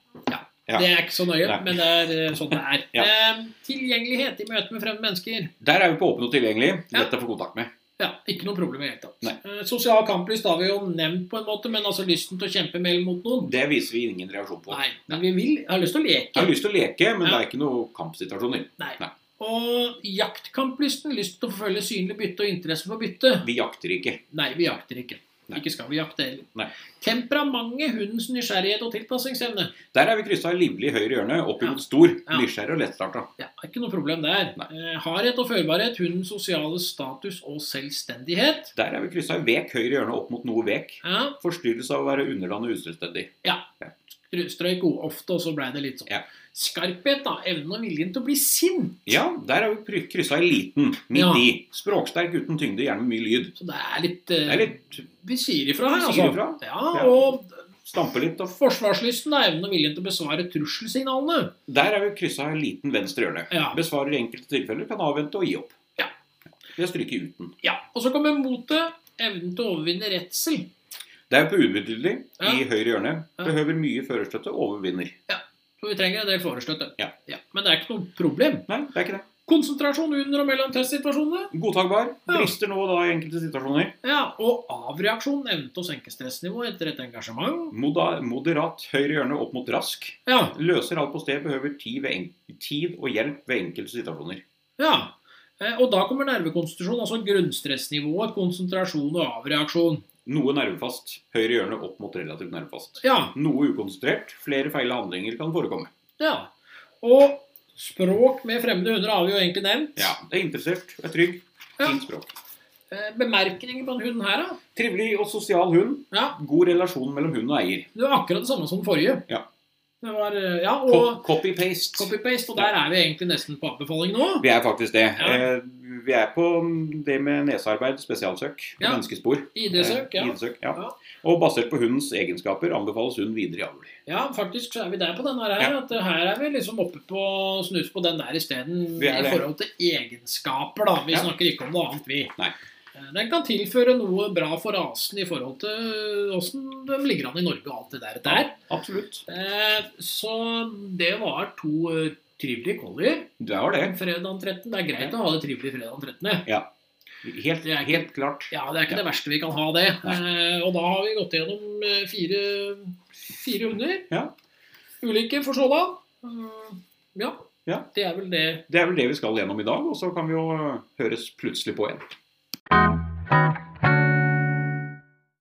Speaker 1: Det er ikke så nøye,
Speaker 2: Nei.
Speaker 1: men det er eh, sånn det er.
Speaker 2: Ja.
Speaker 1: Eh, tilgjengelighet i møte med fremmede mennesker.
Speaker 2: Der er vi på åpen og tilgjengelig.
Speaker 1: Ja.
Speaker 2: Lett å få kontakt med.
Speaker 1: Ja, Ikke noe problem i det hele
Speaker 2: Nei.
Speaker 1: tatt. Eh, sosial kamplyst har vi jo nevnt, på en måte, men altså lysten til å kjempe med eller mot noen.
Speaker 2: Det viser vi ingen reaksjon på.
Speaker 1: Nei, men vi vil, har lyst til å
Speaker 2: Jeg
Speaker 1: leke.
Speaker 2: har lyst til å leke, men
Speaker 1: Ja.
Speaker 2: det er ikke noen kampsituasjoner.
Speaker 1: Nei.
Speaker 2: Nei.
Speaker 1: Og jaktkamplysten, lyst til å forfølge synlig bytte og interesse for bytte.
Speaker 2: Vi jakter ikke.
Speaker 1: Nei, vi jakter ikke.
Speaker 2: Nei.
Speaker 1: Ikke skal vi jakte heller.
Speaker 2: Nei.
Speaker 1: Temperamentet, hundens nysgjerrighet og tilpassingsevne.
Speaker 2: Der er vi kryssa livlig i høyre hjørne, opp
Speaker 1: Ja.
Speaker 2: imot stor.
Speaker 1: Ja.
Speaker 2: Nysgjerrig og lettstarta.
Speaker 1: Ja, ikke noe problem der.
Speaker 2: Nei.
Speaker 1: Eh, hardhet og førbarhet, hundens sosiale status og selvstendighet.
Speaker 2: Der er vi kryssa vek høyre hjørne opp mot noe vek.
Speaker 1: Ja,
Speaker 2: Forstyrrelse av å være underlandet og uselvstendig.
Speaker 1: str- strøyk o- ofte, og så blei det litt sånn.
Speaker 2: Ja.
Speaker 1: Skarphet, da. Evnen og viljen til å bli sint.
Speaker 2: Ja, der er vi kry- kryssa i liten. Midt
Speaker 1: Ja.
Speaker 2: i. Språksterk uten tyngde, gjerne med mye lyd.
Speaker 1: Så det er litt, eh,
Speaker 2: Det er litt
Speaker 1: Vi sier ifra her,
Speaker 2: Vi
Speaker 1: altså.
Speaker 2: sier ifra.
Speaker 1: Ja,
Speaker 2: Ja.
Speaker 1: og
Speaker 2: Stampe litt. Og
Speaker 1: forsvarslysten, da. Evnen og viljen til å besvare trusselsignalene.
Speaker 2: der er vi kryssa i liten venstre hjørne.
Speaker 1: Ja.
Speaker 2: Besvarer i enkelte tilfeller, kan avvente og gi opp.
Speaker 1: Ja.
Speaker 2: Det er stryket uten.
Speaker 1: ja. Og så kommer motet. Evnen til å overvinne redsel.
Speaker 2: Det er på ubetydelig
Speaker 1: Ja.
Speaker 2: i høyre hjørne.
Speaker 1: Ja.
Speaker 2: Behøver mye førerstøtte, overvinner.
Speaker 1: Så vi trenger en del forestøtte.
Speaker 2: Ja.
Speaker 1: Men det er ikke noe problem.
Speaker 2: Nei, det er ikke det.
Speaker 1: Konsentrasjon under og mellom testsituasjonene.
Speaker 2: Godtakbar.
Speaker 1: Ja.
Speaker 2: Brister nå og da i enkelte situasjoner.
Speaker 1: Ja, Og avreaksjon evne til å senke stressnivået etter et engasjement.
Speaker 2: Moda- Moderat høyre hjørne opp mot rask.
Speaker 1: Ja,
Speaker 2: Løser alt på sted, behøver tid, ved en tid og hjelp ved enkelte situasjoner.
Speaker 1: ja. Eh, Og da kommer nervekonstitusjon, altså grunnstressnivået, konsentrasjon og avreaksjon.
Speaker 2: Noe nervefast. Høyre hjørne opp mot relativt nervefast.
Speaker 1: Ja,
Speaker 2: Noe ukonsentrert. Flere feil handlinger kan forekomme.
Speaker 1: ja. Og språk med fremmede hunder har vi jo egentlig nevnt.
Speaker 2: Ja, det er interessert, er trygg,
Speaker 1: Ja.
Speaker 2: fint språk.
Speaker 1: Eh, Bemerkninger på den hunden her, da?
Speaker 2: Trivelig og sosial hund.
Speaker 1: Ja,
Speaker 2: God relasjon mellom hund og eier.
Speaker 1: Det var akkurat det samme som den forrige.
Speaker 2: Ja.
Speaker 1: Det var, eh, ja,
Speaker 2: Co-
Speaker 1: og
Speaker 2: Copy-paste.
Speaker 1: copy-paste, og der er vi egentlig nesten på anbefaling nå.
Speaker 2: Vi er faktisk det.
Speaker 1: Ja.
Speaker 2: Eh, Vi er på det med nesearbeid, spesialsøk og
Speaker 1: Ja.
Speaker 2: menneskespor.
Speaker 1: ID-søk,
Speaker 2: Eh,
Speaker 1: ja.
Speaker 2: ID-søk, ja.
Speaker 1: Ja.
Speaker 2: Og basert på hundens egenskaper anbefales hund videre i avl.
Speaker 1: Ja, faktisk så er vi der på denne her.
Speaker 2: Ja.
Speaker 1: At her er vi liksom oppe på å snuse på den der isteden.
Speaker 2: Vi er
Speaker 1: I
Speaker 2: det.
Speaker 1: forhold til egenskaper, da. Vi
Speaker 2: Ja.
Speaker 1: snakker ikke om noe annet, vi.
Speaker 2: Nei.
Speaker 1: Eh, Den kan tilføre noe bra for rasen i forhold til åssen de ligger an i Norge og alt det der. der.
Speaker 2: Absolutt.
Speaker 1: Eh, Så det var to eh, trivelige collier.
Speaker 2: Det er det.
Speaker 1: Fredag den 13. Det er greit å ha det trivelig fredag den 13.
Speaker 2: Helt,
Speaker 1: Det er ikke-
Speaker 2: helt klart.
Speaker 1: Ja, det er ikke
Speaker 2: Ja.
Speaker 1: det verste vi kan ha, det.
Speaker 2: Nei.
Speaker 1: Eh, og da har vi gått gjennom eh, fire, fire hunder.
Speaker 2: Ja. Mm.
Speaker 1: Ulike for sådan. Eh, ja.
Speaker 2: Ja.
Speaker 1: Det er vel det.
Speaker 2: Det er vel det vi skal gjennom i dag, og så kan vi jo høres plutselig på igjen.